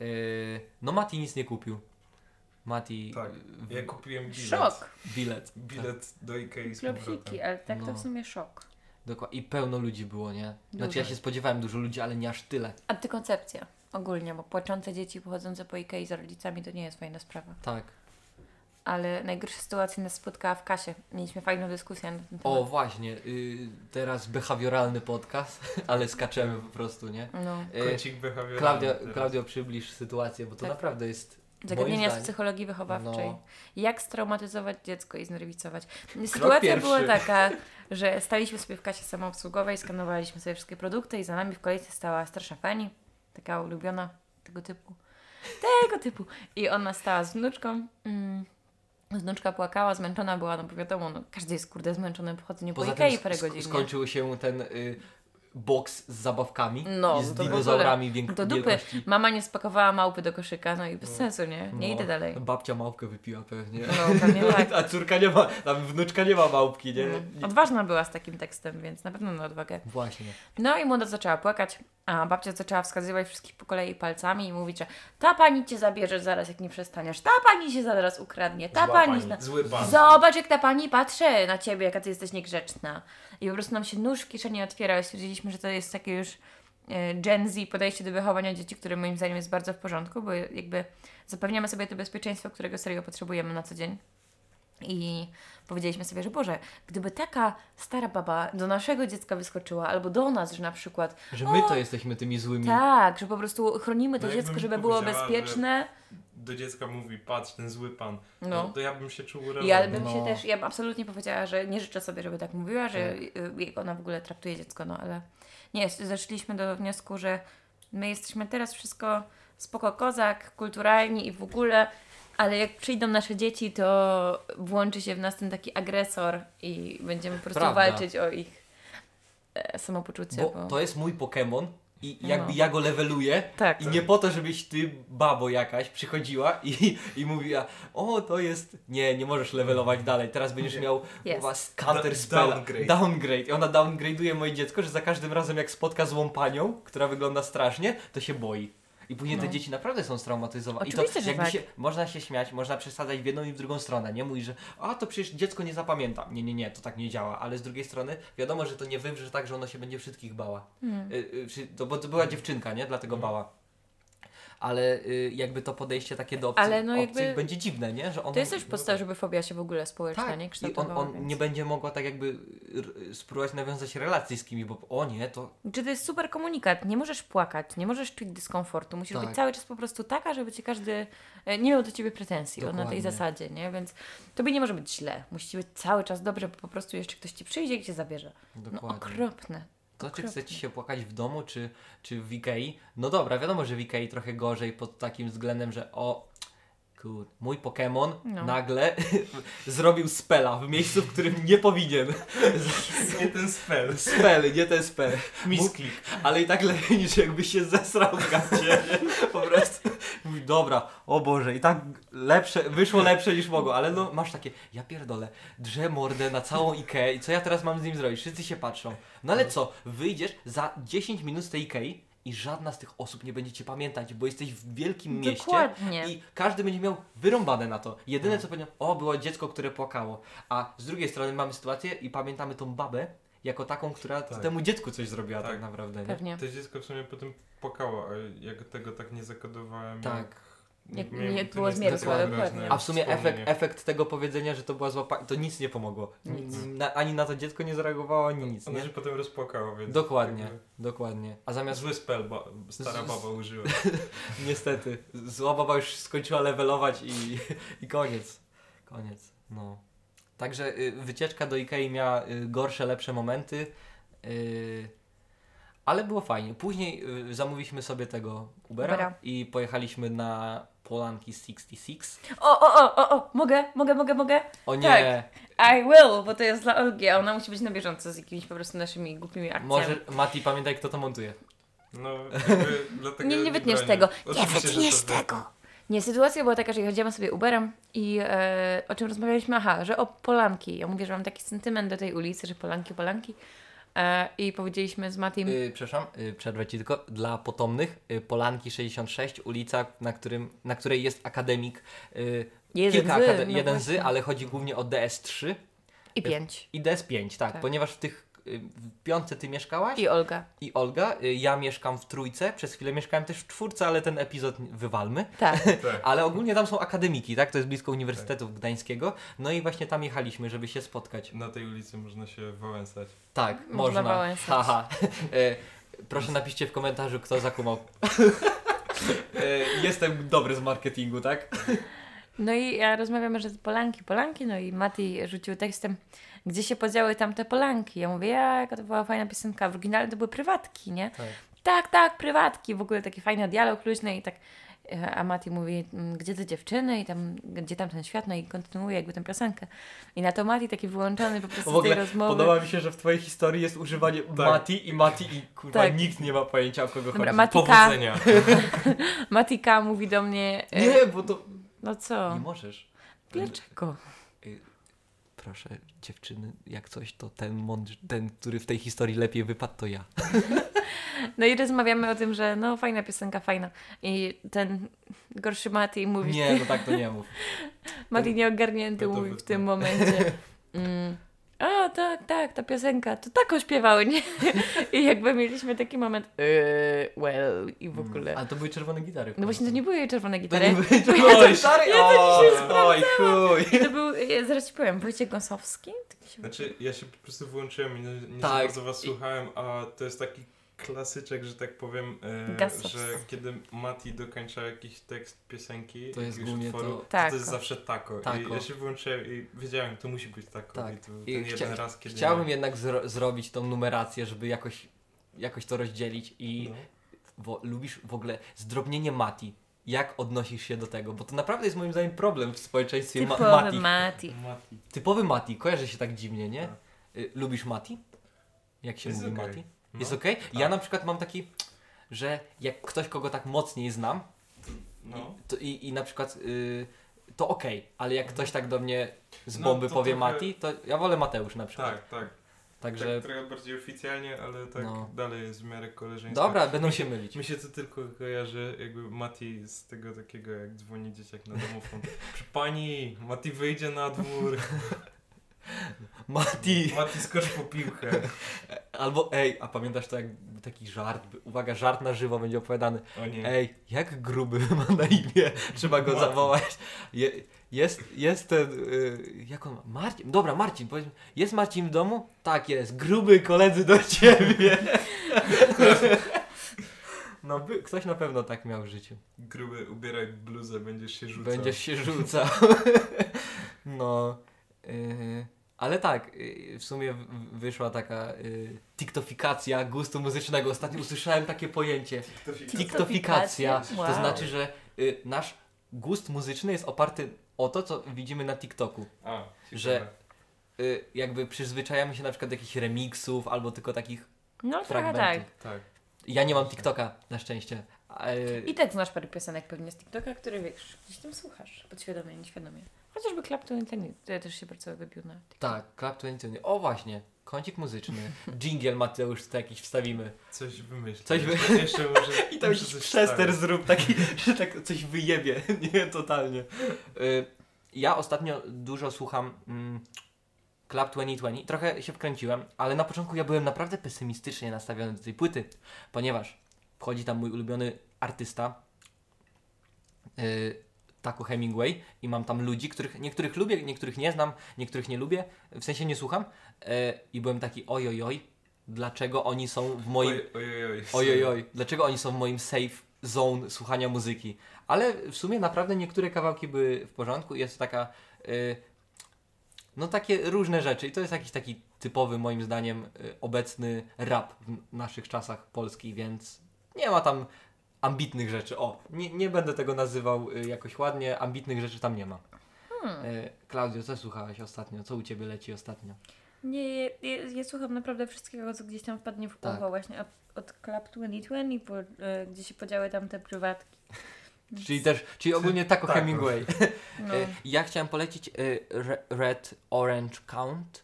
Speaker 2: Y, no Mati nic nie kupił. Mati...
Speaker 3: Tak,
Speaker 2: w-
Speaker 3: Ja kupiłem bilet.
Speaker 1: Szok.
Speaker 2: Bilet.
Speaker 3: Bilet do Ikei z powrotem.
Speaker 1: Klopsiki, ale tak to
Speaker 2: No.
Speaker 1: w sumie szok.
Speaker 2: Dokła- I pełno ludzi było, nie? Znaczy
Speaker 1: Dużo.
Speaker 2: ja się spodziewałem dużo ludzi, ale nie aż tyle.
Speaker 1: Antykoncepcja ogólnie, bo płaczące dzieci pochodzące po Ikei z rodzicami to nie jest fajna sprawa.
Speaker 2: Tak.
Speaker 1: Ale najgorsza sytuacja nas spotkała w kasie. Mieliśmy fajną dyskusję na ten temat.
Speaker 2: O właśnie, y, teraz behawioralny podcast, ale skaczemy po prostu, nie?
Speaker 1: No.
Speaker 2: Y,
Speaker 3: Kącik behawioralny.
Speaker 2: Klaudia,
Speaker 3: teraz.
Speaker 2: Klaudio, przybliż sytuację, bo to
Speaker 1: Tak.
Speaker 2: naprawdę jest...
Speaker 1: Zagadnienia z
Speaker 2: zdaniem-
Speaker 1: psychologii wychowawczej.
Speaker 2: No.
Speaker 1: Jak straumatyzować dziecko i znerwicować. Sytuacja była
Speaker 2: pierwszy.
Speaker 1: taka, że staliśmy sobie w kasie samoobsługowej, skanowaliśmy sobie wszystkie produkty i za nami w kolejce stała starsza pani, taka ulubiona tego typu. Tego typu. I ona stała z wnuczką. Mm. Wnuczka płakała, zmęczona była, no bo wiadomo, no, każdy jest kurde zmęczony po chodzeniu No po
Speaker 2: Poza
Speaker 1: Ikei
Speaker 2: tym
Speaker 1: parę
Speaker 2: sk-
Speaker 1: godzin. nie?
Speaker 2: skończył się ten y, boks z zabawkami
Speaker 1: No,
Speaker 2: i z
Speaker 1: to w ogóle.
Speaker 2: dinozaurami wielk-
Speaker 1: Do dupy.
Speaker 2: wielkości.
Speaker 1: Mama nie spakowała małpy do koszyka, no i bez sensu, nie? Nie
Speaker 2: No,
Speaker 1: idę dalej.
Speaker 2: Babcia małpkę wypiła pewnie.
Speaker 1: No, pewnie tak.
Speaker 2: A córka nie ma, a wnuczka nie ma małpki, nie?
Speaker 1: Mm. Odważna była z takim tekstem, więc na pewno na odwagę.
Speaker 2: Właśnie.
Speaker 1: No i młoda zaczęła płakać, a babcia zaczęła wskazywać wszystkich po kolei palcami i mówić, że ta pani cię zabierze zaraz, jak nie przestaniesz, ta pani się zaraz ukradnie, ta
Speaker 3: Zła
Speaker 1: pani... zna-
Speaker 3: Zły pan.
Speaker 1: Zobacz, jak ta pani patrzy na ciebie, jaka ty jesteś niegrzeczna. I po prostu nam się nóż w kieszeni otwiera. i Stwierdziliśmy, że to jest takie już e, Gen Z podejście do wychowania dzieci, które moim zdaniem jest bardzo w porządku, bo jakby zapewniamy sobie to bezpieczeństwo, którego serio potrzebujemy na co dzień. I powiedzieliśmy sobie, że Boże, gdyby taka stara baba do naszego dziecka wyskoczyła, albo do nas, że na przykład.
Speaker 2: Że my
Speaker 1: o,
Speaker 2: to jesteśmy tymi złymi.
Speaker 1: Tak, że po prostu chronimy to
Speaker 3: Mm. No jakbym
Speaker 1: dziecko, żeby było
Speaker 3: powiedziała, że-
Speaker 1: bezpieczne.
Speaker 3: Do dziecka mówi, patrz, ten zły pan.
Speaker 1: No.
Speaker 3: No. To ja bym się czuł urażony.
Speaker 1: Ja bym się
Speaker 2: No.
Speaker 1: też, ja bym absolutnie powiedziała, że nie życzę sobie, żeby tak mówiła, że
Speaker 2: Tak.
Speaker 1: y, jak ona w ogóle traktuje dziecko, no ale nie, zeszliśmy do wniosku, że my jesteśmy teraz wszystko spoko kozak, kulturalni i w ogóle, ale jak przyjdą nasze dzieci, to włączy się w nas ten taki agresor i będziemy po prostu
Speaker 2: Prawda.
Speaker 1: walczyć o ich e, samopoczucie. Bo
Speaker 2: Bo to jest mój Pokémon i
Speaker 1: No.
Speaker 2: jakby ja go leveluję.
Speaker 1: Tak.
Speaker 2: I nie po to, żebyś ty, babo jakaś, przychodziła i, i mówiła, o to jest, nie, nie możesz levelować dalej, teraz będziesz miał
Speaker 1: Jest.
Speaker 2: u was counter
Speaker 3: Da-
Speaker 2: spell.
Speaker 3: downgrade.
Speaker 2: downgrade. I ona downgrade'uje moje dziecko, że za każdym razem jak spotka złą panią, która wygląda strasznie, to się boi. I później te
Speaker 1: No.
Speaker 2: dzieci naprawdę są straumatyzowane. I
Speaker 1: Oczywiście,
Speaker 2: to
Speaker 1: że
Speaker 2: jakby
Speaker 1: tak.
Speaker 2: się, można się śmiać, można przesadzać w jedną i w drugą stronę. Nie mój, że a to przecież dziecko nie zapamięta. Nie, nie, nie, to tak nie działa. Ale z drugiej strony wiadomo, że to nie wywrze tak, że ono się będzie wszystkich bała.
Speaker 1: Hmm.
Speaker 2: Y, y, czy- to, bo to była dziewczynka, nie? Dlatego bała. Ale y, jakby to podejście takie do obcych,
Speaker 1: Ale no
Speaker 2: obcych
Speaker 1: jakby-
Speaker 2: będzie dziwne, nie? Że on,
Speaker 1: To jest też podstawa, żeby fobia się w ogóle społeczna
Speaker 2: tak,
Speaker 1: nie
Speaker 2: i on,
Speaker 1: kształtowała.
Speaker 2: on
Speaker 1: więc-
Speaker 2: nie będzie mogła tak jakby r- spróbować nawiązać relacji z kimś, bo o nie, to
Speaker 1: Czy to jest super komunikat? Nie możesz płakać, nie możesz czuć dyskomfortu. Musisz
Speaker 2: Tak.
Speaker 1: być cały czas po prostu taka, żeby ci każdy e, nie miał do ciebie pretensji o, na tej
Speaker 2: Dokładnie.
Speaker 1: zasadzie, nie? Więc tobie nie może być źle. Musi być cały czas dobrze, bo po prostu jeszcze ktoś ci przyjdzie i cię zabierze. No
Speaker 2: dokładnie.
Speaker 1: okropne.
Speaker 2: to czy
Speaker 1: okropne.
Speaker 2: chce ci się płakać w domu, czy, czy w Ikei? No dobra, wiadomo, że w Ikei trochę gorzej pod takim względem, że o kur, mój Pokémon
Speaker 1: No.
Speaker 2: nagle zrobił spela w miejscu, w którym nie powinien.
Speaker 3: Nie ten spell.
Speaker 2: Spel, nie ten spel.
Speaker 3: Misklik.
Speaker 2: Ale i tak lepiej niż jakby się zesrał w gacie. nie? Po prostu. Mówi, dobra, o Boże, i tak lepsze, wyszło lepsze niż mogło, ale no masz takie, ja pierdolę, drze mordę na całą Ikeę i co ja teraz mam z nim zrobić? Wszyscy się patrzą. No ale co, wyjdziesz za 10 minut z tej Ikei i żadna z tych osób nie będzie cię pamiętać, bo jesteś w wielkim mieście.
Speaker 1: Dokładnie.
Speaker 2: I każdy będzie miał wyrąbane na to. Jedyne co powinien, o, było dziecko, które płakało. A z drugiej strony mamy sytuację i pamiętamy tą babę jako taką, która
Speaker 3: Tak.
Speaker 2: temu dziecku coś zrobiła tak,
Speaker 3: Tak.
Speaker 2: naprawdę. Nie?
Speaker 1: Pewnie.
Speaker 3: To dziecko w sumie potem płakało, a ja tego tak nie zakodowałem.
Speaker 2: Tak.
Speaker 1: Jak
Speaker 3: miałem
Speaker 1: nie
Speaker 3: to
Speaker 1: było
Speaker 3: niestety
Speaker 2: zmierzchu, ale
Speaker 3: wyraźne
Speaker 1: dokładnie.
Speaker 2: A w sumie efekt,
Speaker 3: wspomnienie.
Speaker 2: efekt tego powiedzenia, że to była zła pani, to nic nie pomogło.
Speaker 1: Nic.
Speaker 2: N- Na, ani na to dziecko nie zareagowało, ani nic.
Speaker 3: Ona
Speaker 2: Nie?
Speaker 3: się potem rozpłakało, więc...
Speaker 2: Dokładnie,
Speaker 3: jakby
Speaker 2: dokładnie. A zamiast,
Speaker 3: Zły spell, ba- stara
Speaker 2: Z- z-
Speaker 3: baba użyła.
Speaker 2: niestety, zła baba już skończyła levelować i, i koniec. Koniec, no. Także y, wycieczka do Ikei miała y, gorsze, lepsze momenty, y, ale było fajnie. Później y, zamówiliśmy sobie tego Ubera,
Speaker 1: Ubera.
Speaker 2: i pojechaliśmy na Polanki 66.
Speaker 1: O, o, o, o, o, mogę, mogę, mogę, mogę.
Speaker 2: O nie!
Speaker 1: I will, bo to jest dla Olgi, a ona musi być na bieżąco z jakimiś po prostu naszymi głupimi akcjami.
Speaker 2: Może, Mati, pamiętaj kto to montuje. Y,
Speaker 3: No, jakby dlatego
Speaker 1: Nie,
Speaker 3: ja
Speaker 1: nie wytniesz
Speaker 3: bronię.
Speaker 1: tego. Nie
Speaker 3: Oczywiście, że tak. to
Speaker 1: wytniesz
Speaker 3: wytnę.
Speaker 1: tego. Nie, sytuacja była taka, że jeździłam sobie Uberem i e, o czym rozmawialiśmy? Aha, że o Polanki. Ja mówię, że mam taki sentyment do tej ulicy, że Polanki, Polanki. E, I powiedzieliśmy z Matim,
Speaker 2: Yy, przepraszam, yy, przerwę ci tylko. Dla potomnych, yy, Polanki 66, ulica, na, którym, na której jest akademik. Yy,
Speaker 1: Jeden
Speaker 2: kilka
Speaker 1: z,
Speaker 2: akade-
Speaker 1: no
Speaker 2: jeden z,
Speaker 1: właśnie.
Speaker 2: ale chodzi głównie o DS3
Speaker 1: i pięć.
Speaker 2: i DS5, tak,
Speaker 1: Tak.
Speaker 2: ponieważ w tych y, w piątce ty mieszkałaś
Speaker 1: I Olga.
Speaker 2: i Olga, y, ja mieszkam w trójce, przez chwilę mieszkałem też w czwórce, ale ten epizod wywalmy.
Speaker 1: Tak.
Speaker 3: Tak.
Speaker 2: Ale ogólnie tam są akademiki, tak? To jest blisko Uniwersytetu Gdańskiego. No i właśnie tam jechaliśmy, żeby się spotkać.
Speaker 3: Na tej ulicy można się wałęsać.
Speaker 2: Tak,
Speaker 1: Można
Speaker 2: można.
Speaker 1: wałęsać.
Speaker 2: Haha. E, proszę napiszcie w komentarzu, kto zakumał. E, jestem dobry z marketingu, tak?
Speaker 1: No i ja rozmawiamy, że Polanki, Polanki, no i Mati rzucił tekstem, gdzie się podziały tamte Polanki. Ja mówię, ja, jaka to była fajna piosenka. W oryginale to były prywatki, nie?
Speaker 2: Tak.
Speaker 1: Tak, tak, prywatki. W ogóle taki fajny dialog luźny i tak. e, A Mati mówi, mm, gdzie te dziewczyny i tam, gdzie tam ten świat, no i kontynuuje jakby tę piosenkę. I na to Mati taki wyłączony po prostu
Speaker 2: W
Speaker 1: z tej
Speaker 2: ogóle
Speaker 1: rozmowy.
Speaker 2: podoba mi się, że w twojej historii jest używanie Mati i Mati i kurwa
Speaker 1: Tak.
Speaker 2: nikt nie ma pojęcia o kogo
Speaker 1: Dobra,
Speaker 2: chodzi.
Speaker 1: Mati K.
Speaker 3: Powodzenia.
Speaker 1: Mati K mówi do mnie, e,
Speaker 2: Nie, bo to...
Speaker 1: no co,
Speaker 2: Nie możesz.
Speaker 1: dlaczego?
Speaker 2: Proszę, dziewczyny, jak coś, to ten mądrz, ten, który w tej historii lepiej wypadł, to ja.
Speaker 1: No i rozmawiamy o tym, że no fajna piosenka, fajna. I ten gorszy Mati mówi,
Speaker 2: Nie, no tak to nie mów.
Speaker 1: Mati nieogarnięty
Speaker 3: To- to
Speaker 1: mówi w
Speaker 2: tak.
Speaker 3: wytnę.
Speaker 1: tym momencie. Mm. A, tak, tak, ta piosenka, to tak ośpiewały, nie? I jakby mieliśmy taki moment, eee, well, i w ogóle.
Speaker 2: A to były czerwone gitary.
Speaker 1: No właśnie, to nie były jej czerwone
Speaker 2: Mm. To
Speaker 1: gitary.
Speaker 2: nie były czerwone
Speaker 1: Oj,
Speaker 2: gitary?
Speaker 1: ja to
Speaker 2: Oj,
Speaker 1: dzisiaj
Speaker 2: Oj, chuj.
Speaker 1: To był, e, zaraz ci powiem, Wojciech Gąsowski? Tak mi się
Speaker 3: Znaczy, ja się po prostu wyłączyłem i nie, nie
Speaker 2: Tak.
Speaker 3: za bardzo was
Speaker 2: I-
Speaker 3: słuchałem, a to jest taki klasyczek, że tak powiem, e,
Speaker 1: Gastos.
Speaker 3: że kiedy Mati dokończa jakiś tekst piosenki,
Speaker 2: To jest
Speaker 3: jakiegoś
Speaker 2: głównie
Speaker 3: utworu,
Speaker 2: to-
Speaker 3: to, to
Speaker 1: Tako.
Speaker 3: jest zawsze tako. I
Speaker 2: Tako.
Speaker 3: ja się wyłączyłem i wiedziałem, to musi być tako.
Speaker 2: Tak.
Speaker 3: I to był
Speaker 2: I
Speaker 3: ten
Speaker 2: chcia-
Speaker 3: jeden raz, kiedy... No,
Speaker 2: Chciałbym jednak zro- zrobić tą numerację, żeby jakoś, jakoś to rozdzielić i
Speaker 3: No.
Speaker 2: wo- lubisz w ogóle zdrobnienie Mati. Jak odnosisz się do tego? Bo to naprawdę jest moim zdaniem problem w społeczeństwie ma-
Speaker 1: Typowy
Speaker 2: Mati.
Speaker 1: Mati.
Speaker 3: Mati.
Speaker 2: Typowy Mati, kojarzy się tak dziwnie, nie?
Speaker 3: Tak.
Speaker 2: Y, lubisz Mati? Jak się
Speaker 3: Jest
Speaker 2: mówi
Speaker 3: okej.
Speaker 2: Mati?
Speaker 3: No.
Speaker 2: Jest okej? Ja na przykład mam taki, że jak ktoś, kogo tak mocniej znam,
Speaker 3: No.
Speaker 2: to i, i na przykład y, to okej, ale jak ktoś tak do mnie z
Speaker 3: No,
Speaker 2: bomby
Speaker 3: to
Speaker 2: powie
Speaker 3: trochę-
Speaker 2: Mati, to ja wolę Mateusz na przykład.
Speaker 3: Tak, tak.
Speaker 2: Także
Speaker 3: Tak trochę bardziej oficjalnie, ale tak
Speaker 2: No.
Speaker 3: dalej jest w miarę koleżeństwa.
Speaker 2: Dobra, będą się mylić.
Speaker 3: Mi się to tylko kojarzy, jakby Mati z tego takiego, jak dzwoni dzieciak na domofon. Przy pani, Mati wyjdzie na dwór.
Speaker 2: Mati!
Speaker 3: Mati skocz po piłkę.
Speaker 2: Albo ej, a pamiętasz to jak taki żart, by- uwaga, żart na żywo będzie opowiadany.
Speaker 3: O nie.
Speaker 2: Ej, jak gruby ma na imię, trzeba go
Speaker 3: Mati.
Speaker 2: zawołać. Je, jest, jest ten, y, jak on ma? Marcin, dobra Marcin, powiedz, jest Marcin w domu? Tak jest, gruby koledzy do ciebie. No, by, ktoś na pewno tak miał w życiu.
Speaker 3: Gruby, ubieraj bluzę, będziesz się rzucał.
Speaker 2: Będziesz się rzucał. no. y, ale tak, y, w sumie w- w- wyszła taka y, tiktofikacja gustu muzycznego. Ostatnio usłyszałem takie pojęcie.
Speaker 3: Kto się-
Speaker 2: Tiktofikacja.
Speaker 1: Wow.
Speaker 2: To znaczy, że y, nasz gust muzyczny jest oparty o to, co widzimy na TikToku.
Speaker 3: A, ciekawe.
Speaker 2: Że- Y, jakby przyzwyczajamy się na przykład do jakichś remiksów albo tylko takich.
Speaker 1: No trochę tak.
Speaker 2: Fragmenty.
Speaker 3: Tak.
Speaker 2: Ja nie mam TikToka na szczęście. Y,
Speaker 1: I tak znasz parę piosenek pewnie z TikToka, które wiesz, gdzieś tam słuchasz, podświadomie, nieświadomie. Chociażby Clapton i ten, to ja też się bardzo wybił na TikToku.
Speaker 2: tak, Clap 21. O właśnie, kącik muzyczny. Jingle Mateusz, to jakiś wstawimy.
Speaker 3: Coś wymyśl.
Speaker 2: Coś wy-
Speaker 3: Jeszcze- Jeszcze może...
Speaker 2: I tam
Speaker 3: muszę
Speaker 2: jakiś
Speaker 3: coś
Speaker 2: przester
Speaker 3: wstawić.
Speaker 2: zrób taki, że tak coś wyjebie. Nie, totalnie. Y, Ja ostatnio dużo słucham mm, Club 2020. Trochę się wkręciłem, ale na początku ja byłem naprawdę pesymistycznie nastawiony do tej płyty, ponieważ wchodzi tam mój ulubiony artysta y, Taku Hemingway i mam tam ludzi, których niektórych lubię, niektórych nie znam, niektórych nie lubię, w sensie nie słucham y, i byłem taki ojojoj, dlaczego oni są w moim...
Speaker 3: Oj, ojoj, ojoj.
Speaker 2: Ojojoj, dlaczego oni są w moim safe zone słuchania muzyki? Ale w sumie naprawdę niektóre kawałki były w porządku i jest to taka. y, no takie różne rzeczy. I to jest jakiś taki typowy, moim zdaniem, y, obecny rap w naszych czasach polski, więc nie ma tam ambitnych rzeczy. O, nie, nie będę tego nazywał y, jakoś ładnie, ambitnych rzeczy tam nie ma. Y, Klaudio, co słuchałaś ostatnio? Co u ciebie leci ostatnio?
Speaker 1: Nie, ja, ja słucham naprawdę wszystkiego, co gdzieś tam wpadnie w ucho
Speaker 2: Tak.
Speaker 1: właśnie od, od Club 2020, po, e, gdzie się podziały tam te prywatki.
Speaker 2: Czyli też, czyli ogólnie Taco
Speaker 3: Taco.
Speaker 2: Hemingway.
Speaker 1: No.
Speaker 2: E, Ja chciałem polecić e, Re- Red Orange Count.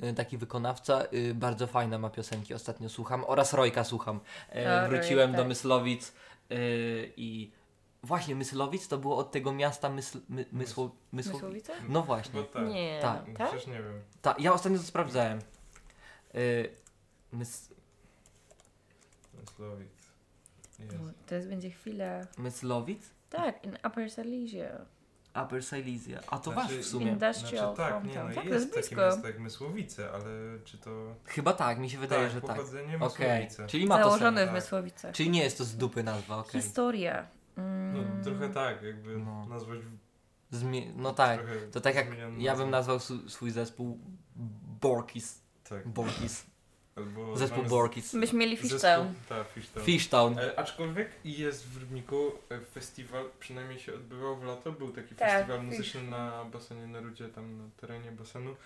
Speaker 2: E, Taki wykonawca, e, bardzo fajne ma piosenki, ostatnio słucham. Oraz Rojka słucham. E,
Speaker 1: O,
Speaker 2: Wróciłem
Speaker 1: Rojek,
Speaker 2: do
Speaker 1: tak.
Speaker 2: Myslowic e, i właśnie Myslowic to było od tego miasta Mysl, my, mysło, Mysłowic.
Speaker 1: Mysłowica?
Speaker 2: No właśnie.
Speaker 3: No tak.
Speaker 1: Nie.
Speaker 2: Tak.
Speaker 1: Tak?
Speaker 3: Przecież nie wiem.
Speaker 2: Ta, ja ostatnio to sprawdzałem. Y, mys,
Speaker 3: Slowit.
Speaker 4: Teraz No, będzie chwila.
Speaker 2: Myslowic?
Speaker 4: Tak, in Upper Silesia.
Speaker 2: Upper Silesia. A to
Speaker 3: Znaczy-
Speaker 2: wasz w sumie.
Speaker 4: Industrial
Speaker 3: Znaczy, tak, nie,
Speaker 4: hometown.
Speaker 3: no,
Speaker 4: tak,
Speaker 3: jest,
Speaker 4: to jest
Speaker 3: takie
Speaker 4: blisko.
Speaker 3: miasto jak Mysłowice, ale czy to...
Speaker 2: Chyba tak, mi się wydaje,
Speaker 3: tak,
Speaker 2: że tak.
Speaker 3: pochodzenie
Speaker 2: Okej,
Speaker 3: Mysłowice.
Speaker 2: czyli ma to sens.
Speaker 4: Założone w
Speaker 3: tak.
Speaker 4: Mysłowicach.
Speaker 2: Czyli nie jest to z dupy nazwa, okej.
Speaker 4: Historia. Mm,
Speaker 3: No, trochę tak, jakby
Speaker 2: No.
Speaker 3: nazwać...
Speaker 2: Zmie- No tak,
Speaker 3: trochę
Speaker 2: to tak jak
Speaker 3: zmieniam
Speaker 2: ja bym
Speaker 3: nazwę.
Speaker 2: nazwał su- swój zespół Borkis.
Speaker 3: Tak,
Speaker 2: Borkis.
Speaker 3: albo...
Speaker 2: Zespół
Speaker 3: mamy z-
Speaker 2: Borkis.
Speaker 1: Byśmy mieli
Speaker 3: zespół-
Speaker 1: fishtown.
Speaker 3: Tak, Fishtown.
Speaker 2: Fishtown.
Speaker 3: E, Aczkolwiek jest w Rybniku e, festiwal, przynajmniej się odbywał w lato, był taki
Speaker 4: Tak,
Speaker 3: festiwal
Speaker 4: Fish.
Speaker 3: muzyczny na basenie na Rudzie, tam na terenie basenu.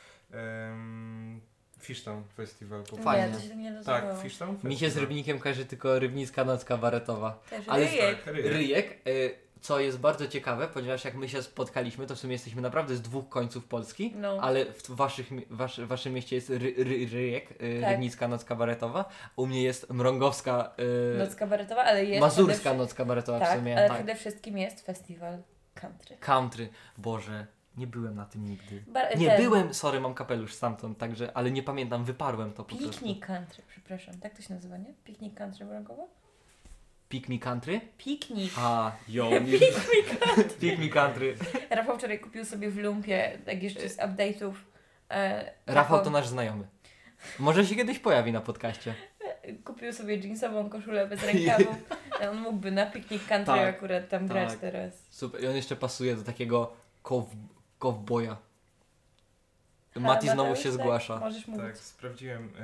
Speaker 3: Um, Fishtown Festival po
Speaker 2: No,
Speaker 3: prostu.
Speaker 2: Fajnie.
Speaker 4: Nie, to się nie
Speaker 3: Tak,
Speaker 4: nazywało.
Speaker 3: Fishtown Festival.
Speaker 2: Mi się z Rybnikiem kojarzy tylko Rybnicka Noc Kabaretowa.
Speaker 4: Też
Speaker 2: Ale-
Speaker 4: ryjek.
Speaker 3: Tak, ryjek.
Speaker 2: Ryjek, y, co jest bardzo ciekawe, ponieważ jak my się spotkaliśmy, to w sumie jesteśmy naprawdę z dwóch końców
Speaker 3: tak.
Speaker 2: Polski,
Speaker 4: No.
Speaker 2: ale w t- waszych, mi- wasz, waszym mieście jest ry, ry, Ryjek, y,
Speaker 4: Tak.
Speaker 2: Rybnicka Noc Kabaretowa, u mnie jest Mrągowska, y,
Speaker 4: Noc kabaretowa, ale jest...
Speaker 2: Mazurska
Speaker 4: przede
Speaker 2: Noc Kabaretowa
Speaker 4: wszy- tak,
Speaker 2: w sumie.
Speaker 4: ale
Speaker 2: tak.
Speaker 4: przede wszystkim jest festiwal country.
Speaker 2: Country. Boże, nie byłem na tym nigdy.
Speaker 4: Ba-
Speaker 2: Nie
Speaker 4: ten-
Speaker 2: byłem, sorry, mam kapelusz stamtąd, także, ale nie pamiętam, wyparłem to po prostu.
Speaker 4: Piknik country, przepraszam. Tak to się nazywa, nie? Piknik country mrogowo?
Speaker 2: Pick me country?
Speaker 4: Piknik.
Speaker 2: A, yo. Pick me country.
Speaker 4: Rafał wczoraj kupił sobie w lumpie, tak jeszcze z update'ów. E,
Speaker 2: Rafał to
Speaker 4: taką-
Speaker 2: nasz znajomy. Może się kiedyś pojawi na podcaście.
Speaker 4: Kupił sobie jeansową koszulę bez rękawów. On mógłby na piknik country
Speaker 2: Tak,
Speaker 4: akurat tam grać
Speaker 2: tak.
Speaker 4: teraz.
Speaker 2: Super. I on jeszcze pasuje do takiego kow... kowboja.
Speaker 4: A,
Speaker 2: Mati znowu
Speaker 4: Mateusz,
Speaker 2: się
Speaker 4: tak?
Speaker 2: zgłasza.
Speaker 4: Możesz mówić.
Speaker 3: Tak, sprawdziłem. E,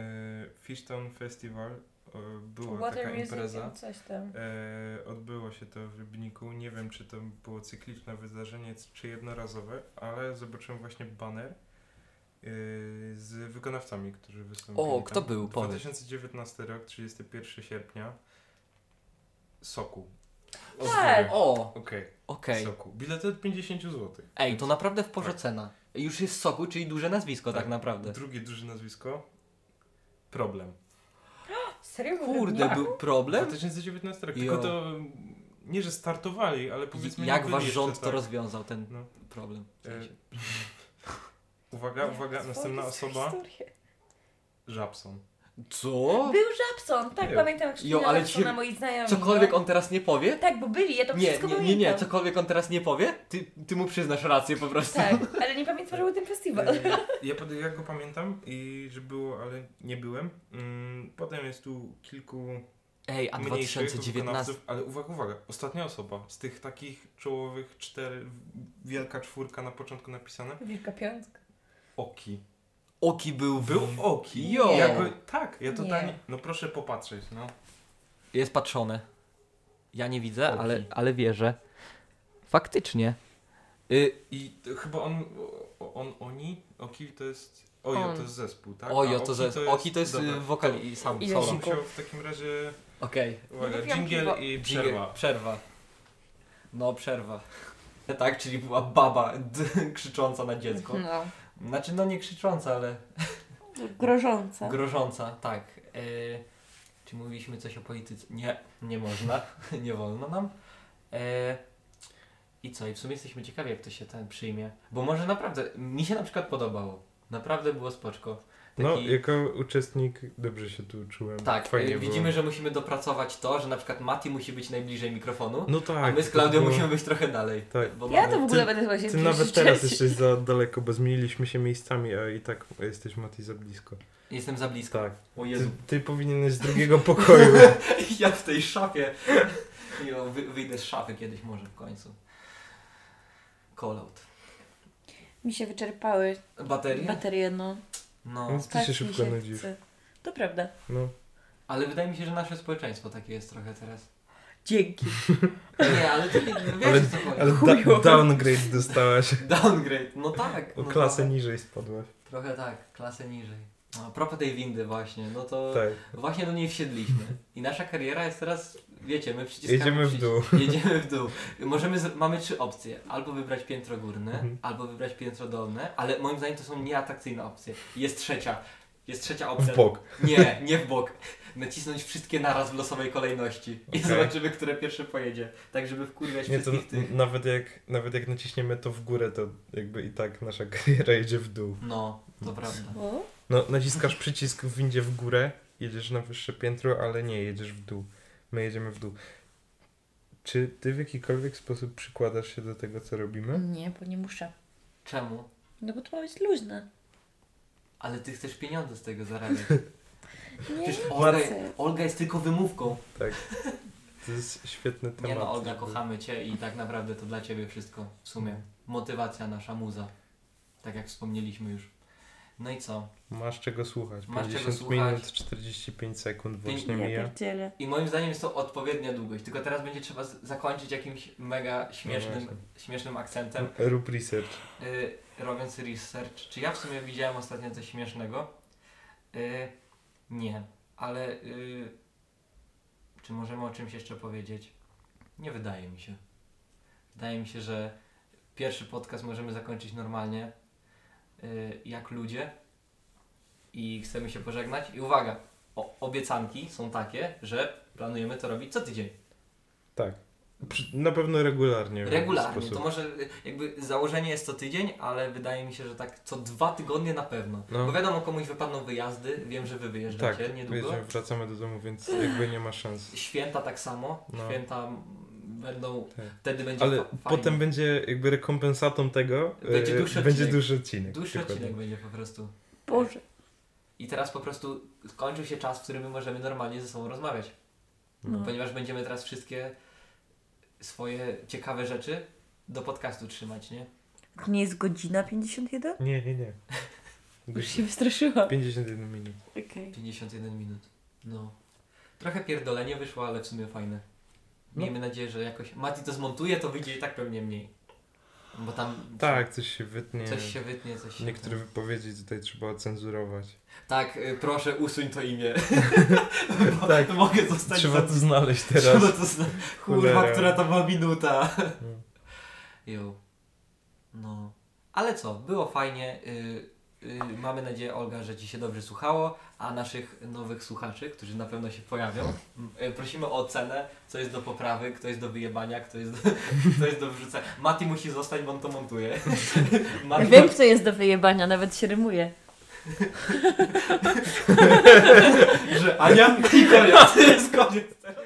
Speaker 3: Fishtown Festival e, była
Speaker 4: Water
Speaker 3: taka
Speaker 4: music,
Speaker 3: impreza.
Speaker 4: coś tam.
Speaker 3: E, odbyło się to w Rybniku. Nie wiem, czy to było cykliczne wydarzenie, c- czy jednorazowe, ale zobaczyłem właśnie baner e, z wykonawcami, którzy wystąpili.
Speaker 2: O, kto
Speaker 3: tam.
Speaker 2: był? Powiedz.
Speaker 3: 2019 rok, 31 sierpnia. Soku.
Speaker 4: Tak.
Speaker 2: O,
Speaker 3: Okej,
Speaker 2: okej.
Speaker 3: Soku. Bilety od 50 zł.
Speaker 2: Ej, to naprawdę w porze cena. Już jest soku, czyli duże nazwisko tak,
Speaker 3: Tak.
Speaker 2: naprawdę.
Speaker 3: Drugie duże nazwisko. Problem.
Speaker 4: Serio? mówię,
Speaker 2: Kurde,
Speaker 4: nie?
Speaker 2: był problem?
Speaker 3: 2019 rok.
Speaker 2: Jo.
Speaker 3: Tylko to mm, nie, że startowali, ale powiedzmy. nie
Speaker 2: Jak
Speaker 3: byli
Speaker 2: wasz
Speaker 3: jeszcze
Speaker 2: rząd to
Speaker 3: tak.
Speaker 2: rozwiązał, ten
Speaker 3: No.
Speaker 2: problem? W sensie.
Speaker 3: E, Uwaga, uwaga,
Speaker 4: Jezus,
Speaker 3: następna
Speaker 4: Jezus,
Speaker 3: osoba.
Speaker 4: historie.
Speaker 3: Żabson.
Speaker 2: Co?
Speaker 4: Był Żabson, tak,
Speaker 3: Jo.
Speaker 4: pamiętam jak
Speaker 2: Jo,
Speaker 4: jo,
Speaker 2: ale
Speaker 4: ale
Speaker 2: ci-
Speaker 4: na moi znajomi.
Speaker 2: Cokolwiek
Speaker 4: no.
Speaker 2: on teraz nie powie?
Speaker 4: Tak, bo byli, ja to
Speaker 2: Nie,
Speaker 4: wszystko
Speaker 2: nie, nie,
Speaker 4: pamiętam.
Speaker 2: nie, cokolwiek on teraz nie powie, ty, ty mu przyznasz rację po prostu.
Speaker 4: Tak, ale nie pamiętam, że był ten festiwal.
Speaker 3: E, Ja, pod- ja go pamiętam i że było, ale nie byłem. Mm, Potem jest tu kilku
Speaker 2: Ej, a
Speaker 3: mniejszych
Speaker 2: 2019...
Speaker 3: wykonawców, ale uwaga, uwaga, ostatnia osoba z tych takich czołowych cztery, wielka czwórka na początku napisane.
Speaker 4: Wielka Piątka.
Speaker 3: Oki.
Speaker 2: Oki był w...
Speaker 3: Był Oki.
Speaker 2: Jo.
Speaker 3: Ja go, tak, ja totalnie.
Speaker 4: Nie.
Speaker 3: No proszę popatrzeć, no.
Speaker 2: Jest patrzone. Ja nie widzę,
Speaker 3: Oki.
Speaker 2: ale, ale wierzę. Faktycznie. Y,
Speaker 3: I to chyba on, o- on, oni, Oki to jest, Ojo
Speaker 1: On.
Speaker 3: to jest zespół, tak?
Speaker 2: ojo,
Speaker 3: A
Speaker 2: to ze... Oki to jest
Speaker 3: dobra.
Speaker 2: y, wokal i sam,
Speaker 4: Ile
Speaker 2: solo.
Speaker 4: się-
Speaker 3: Musiał w takim razie,
Speaker 2: Okej.
Speaker 3: uwaga,
Speaker 4: Wypiłam
Speaker 3: dżingiel
Speaker 4: piwo.
Speaker 2: Dźwięk-
Speaker 3: i przerwa.
Speaker 2: Przerwa. No, przerwa. Tak, czyli była baba d- krzycząca na dziecko.
Speaker 4: No.
Speaker 2: Znaczy, no nie krzycząca, ale
Speaker 4: Grożąca.
Speaker 2: grożąca, tak. Y, czy mówiliśmy coś o polityce? Nie, nie można, nie wolno nam. E, I co, i w sumie jesteśmy ciekawi, jak to się ten przyjmie. Bo może naprawdę, mi się na przykład podobało. Naprawdę było spoczko.
Speaker 3: No,
Speaker 2: Taki-
Speaker 3: jako uczestnik dobrze się tu czułem.
Speaker 2: Tak,
Speaker 3: Fajnie
Speaker 2: y, widzimy,
Speaker 3: było.
Speaker 2: że musimy dopracować to, że na przykład Mati musi być najbliżej mikrofonu,
Speaker 3: No
Speaker 2: a
Speaker 3: tak.
Speaker 2: my z
Speaker 3: to
Speaker 2: Klaudią
Speaker 3: było-
Speaker 2: musimy być trochę dalej.
Speaker 3: Tak.
Speaker 2: Bo
Speaker 4: Ja
Speaker 2: mamy-
Speaker 4: to w ogóle
Speaker 3: Ty-
Speaker 4: będę chyba się
Speaker 3: Ty
Speaker 4: pierwszy
Speaker 3: nawet teraz
Speaker 4: trzeci.
Speaker 3: jesteś za daleko, bo zmieniliśmy się miejscami, a i tak jesteś Mati za blisko.
Speaker 2: Jestem za blisko.
Speaker 3: Tak.
Speaker 2: O
Speaker 3: Ty,
Speaker 2: Jezu.
Speaker 3: ty powinieneś z drugiego pokoju.
Speaker 2: Ja w tej szafie. Jo, wy, wyjdę z szafy kiedyś może w końcu. Callout.
Speaker 4: Mi się wyczerpały
Speaker 2: Baterie?
Speaker 4: baterie, no.
Speaker 2: No.
Speaker 3: No, ty
Speaker 4: Tak
Speaker 3: się
Speaker 4: mi
Speaker 3: szybko nudzisz.
Speaker 4: chce. To prawda.
Speaker 3: No.
Speaker 2: Ale wydaje mi się, że nasze społeczeństwo takie jest trochę teraz.
Speaker 4: Dzięki.
Speaker 2: Nie, ale ty wiesz
Speaker 3: Ale-
Speaker 2: o co chodzi.
Speaker 3: Ale da,
Speaker 4: Chujowe.
Speaker 3: downgrade dostałaś.
Speaker 2: Downgrade, no tak.
Speaker 3: O
Speaker 2: No
Speaker 3: klasę
Speaker 2: trochę,
Speaker 3: niżej spadłaś.
Speaker 2: trochę tak, klasę niżej. No, a propos tej windy właśnie, no to
Speaker 3: Tak.
Speaker 2: właśnie do niej wsiedliśmy. I nasza kariera jest teraz, wiecie, my przyciskamy
Speaker 3: Jedziemy w
Speaker 2: przycisk-
Speaker 3: dół.
Speaker 2: Jedziemy w dół. Możemy, z- mamy trzy opcje. Albo wybrać piętro górne,
Speaker 3: Mhm.
Speaker 2: albo wybrać piętro dolne, ale moim zdaniem to są nieatrakcyjne opcje. Jest trzecia. Jest trzecia opcja.
Speaker 3: W bok.
Speaker 2: Nie, nie w bok. Nacisnąć wszystkie naraz w losowej kolejności. I
Speaker 3: Okej.
Speaker 2: zobaczymy, które pierwsze pojedzie. Tak, żeby wkurwiać
Speaker 3: Nie, to
Speaker 2: wszystkich tych.
Speaker 3: n- nawet jak, nawet jak naciśniemy to w górę, to jakby i tak nasza kariera idzie w dół.
Speaker 2: No, to prawda.
Speaker 5: O,
Speaker 3: No, naciskasz przycisk w windzie w górę, jedziesz na wyższe piętro, ale nie, jedziesz w dół. My jedziemy w dół. Czy ty w jakikolwiek sposób przykładasz się do tego, co robimy?
Speaker 5: Nie, bo nie muszę.
Speaker 2: Czemu?
Speaker 5: No bo to ma być luźne.
Speaker 2: Ale ty chcesz pieniądze z tego zarabiać.
Speaker 5: Nie,
Speaker 2: Przecież Olga,
Speaker 5: chcę.
Speaker 2: Olga jest tylko wymówką.
Speaker 3: Tak. To jest świetny temat.
Speaker 2: Nie no, Olga, kochamy cię i tak naprawdę to dla ciebie wszystko w sumie. Motywacja nasza, muza. Tak jak wspomnieliśmy już. No i co?
Speaker 3: Masz czego słuchać.
Speaker 2: Masz czego
Speaker 3: 50
Speaker 2: słuchać.
Speaker 3: minut, 45 sekund
Speaker 2: Pięknie.
Speaker 3: właśnie mija.
Speaker 1: pierdzielę.
Speaker 2: I moim zdaniem jest to odpowiednia długość, tylko teraz będzie trzeba z- zakończyć jakimś mega śmiesznym,
Speaker 3: No właśnie.
Speaker 2: śmiesznym akcentem,
Speaker 3: Rób research.
Speaker 2: y, robiąc research. Czy ja w sumie widziałem ostatnio coś śmiesznego? Y, nie, ale y, czy możemy o czymś jeszcze powiedzieć? Nie wydaje mi się. Wydaje mi się, że pierwszy podcast możemy zakończyć normalnie, y, jak ludzie. I chcemy się pożegnać. I uwaga, o, obiecanki są takie, że planujemy to robić co tydzień.
Speaker 3: Tak. Przy- Na pewno regularnie. w jakiś
Speaker 2: Regularnie.
Speaker 3: sposób.
Speaker 2: To może y, jakby założenie jest co tydzień, ale wydaje mi się, że tak co dwa tygodnie na pewno.
Speaker 3: No.
Speaker 2: Bo wiadomo, komuś wypadną wyjazdy, wiem, że wy wyjeżdżacie
Speaker 3: Tak,
Speaker 2: niedługo.
Speaker 3: wiecie, wracamy do domu, więc jakby nie ma szans.
Speaker 2: Święta tak samo.
Speaker 3: No.
Speaker 2: Święta mm, będą,
Speaker 3: Tak.
Speaker 2: wtedy będzie
Speaker 3: Ale
Speaker 2: fa- fajnie.
Speaker 3: potem będzie jakby rekompensatą tego.
Speaker 2: Będzie
Speaker 3: e,
Speaker 2: dłuższy
Speaker 3: będzie
Speaker 2: odcinek.
Speaker 3: dłuższy odcinek.
Speaker 2: Dłuższy
Speaker 3: dokładnie.
Speaker 2: odcinek będzie po prostu.
Speaker 1: Boże.
Speaker 2: I teraz po prostu skończył się czas, w którym my możemy normalnie ze sobą rozmawiać.
Speaker 1: No.
Speaker 2: Ponieważ będziemy teraz wszystkie swoje ciekawe rzeczy do podcastu trzymać, nie?
Speaker 1: Nie jest godzina 51?
Speaker 3: Nie, nie, nie.
Speaker 5: Już
Speaker 3: Gość-
Speaker 5: się wystraszyłam.
Speaker 3: 51 minut.
Speaker 1: Okej.
Speaker 2: 51 minut. No. Trochę pierdolenie wyszło, ale w sumie fajne. Miejmy
Speaker 3: No.
Speaker 2: nadzieję, że jakoś Mati to zmontuje, to wyjdzie i tak pewnie mniej. Bo tam
Speaker 3: Tak, coś się wytnie.
Speaker 2: coś się wytnie, coś się...
Speaker 3: Niektóre wypowiedzi tutaj trzeba ocenzurować.
Speaker 2: Tak, y, proszę usuń to imię. Bo
Speaker 3: Tak.
Speaker 2: Mogę zostać
Speaker 3: Trzeba
Speaker 2: za...
Speaker 3: to znaleźć
Speaker 2: Trzeba
Speaker 3: teraz.
Speaker 2: to zna...
Speaker 3: Cholera.
Speaker 2: Kurwa, która to była minuta.
Speaker 3: Mm.
Speaker 2: Jo. No. Ale co, było fajnie. Y, y, mamy nadzieję, Olga, że Ci się dobrze słuchało, a naszych nowych słuchaczy, którzy na pewno się pojawią, y, prosimy o ocenę, co jest do poprawy, kto jest do wyjebania, kto jest do, kto jest do wrzucenia. Mati musi zostać, bo on to montuje. Mati,
Speaker 1: Wiem, co jest do wyjebania, nawet się rymuje.
Speaker 2: że Ania i koniec. To jest koniec teraz.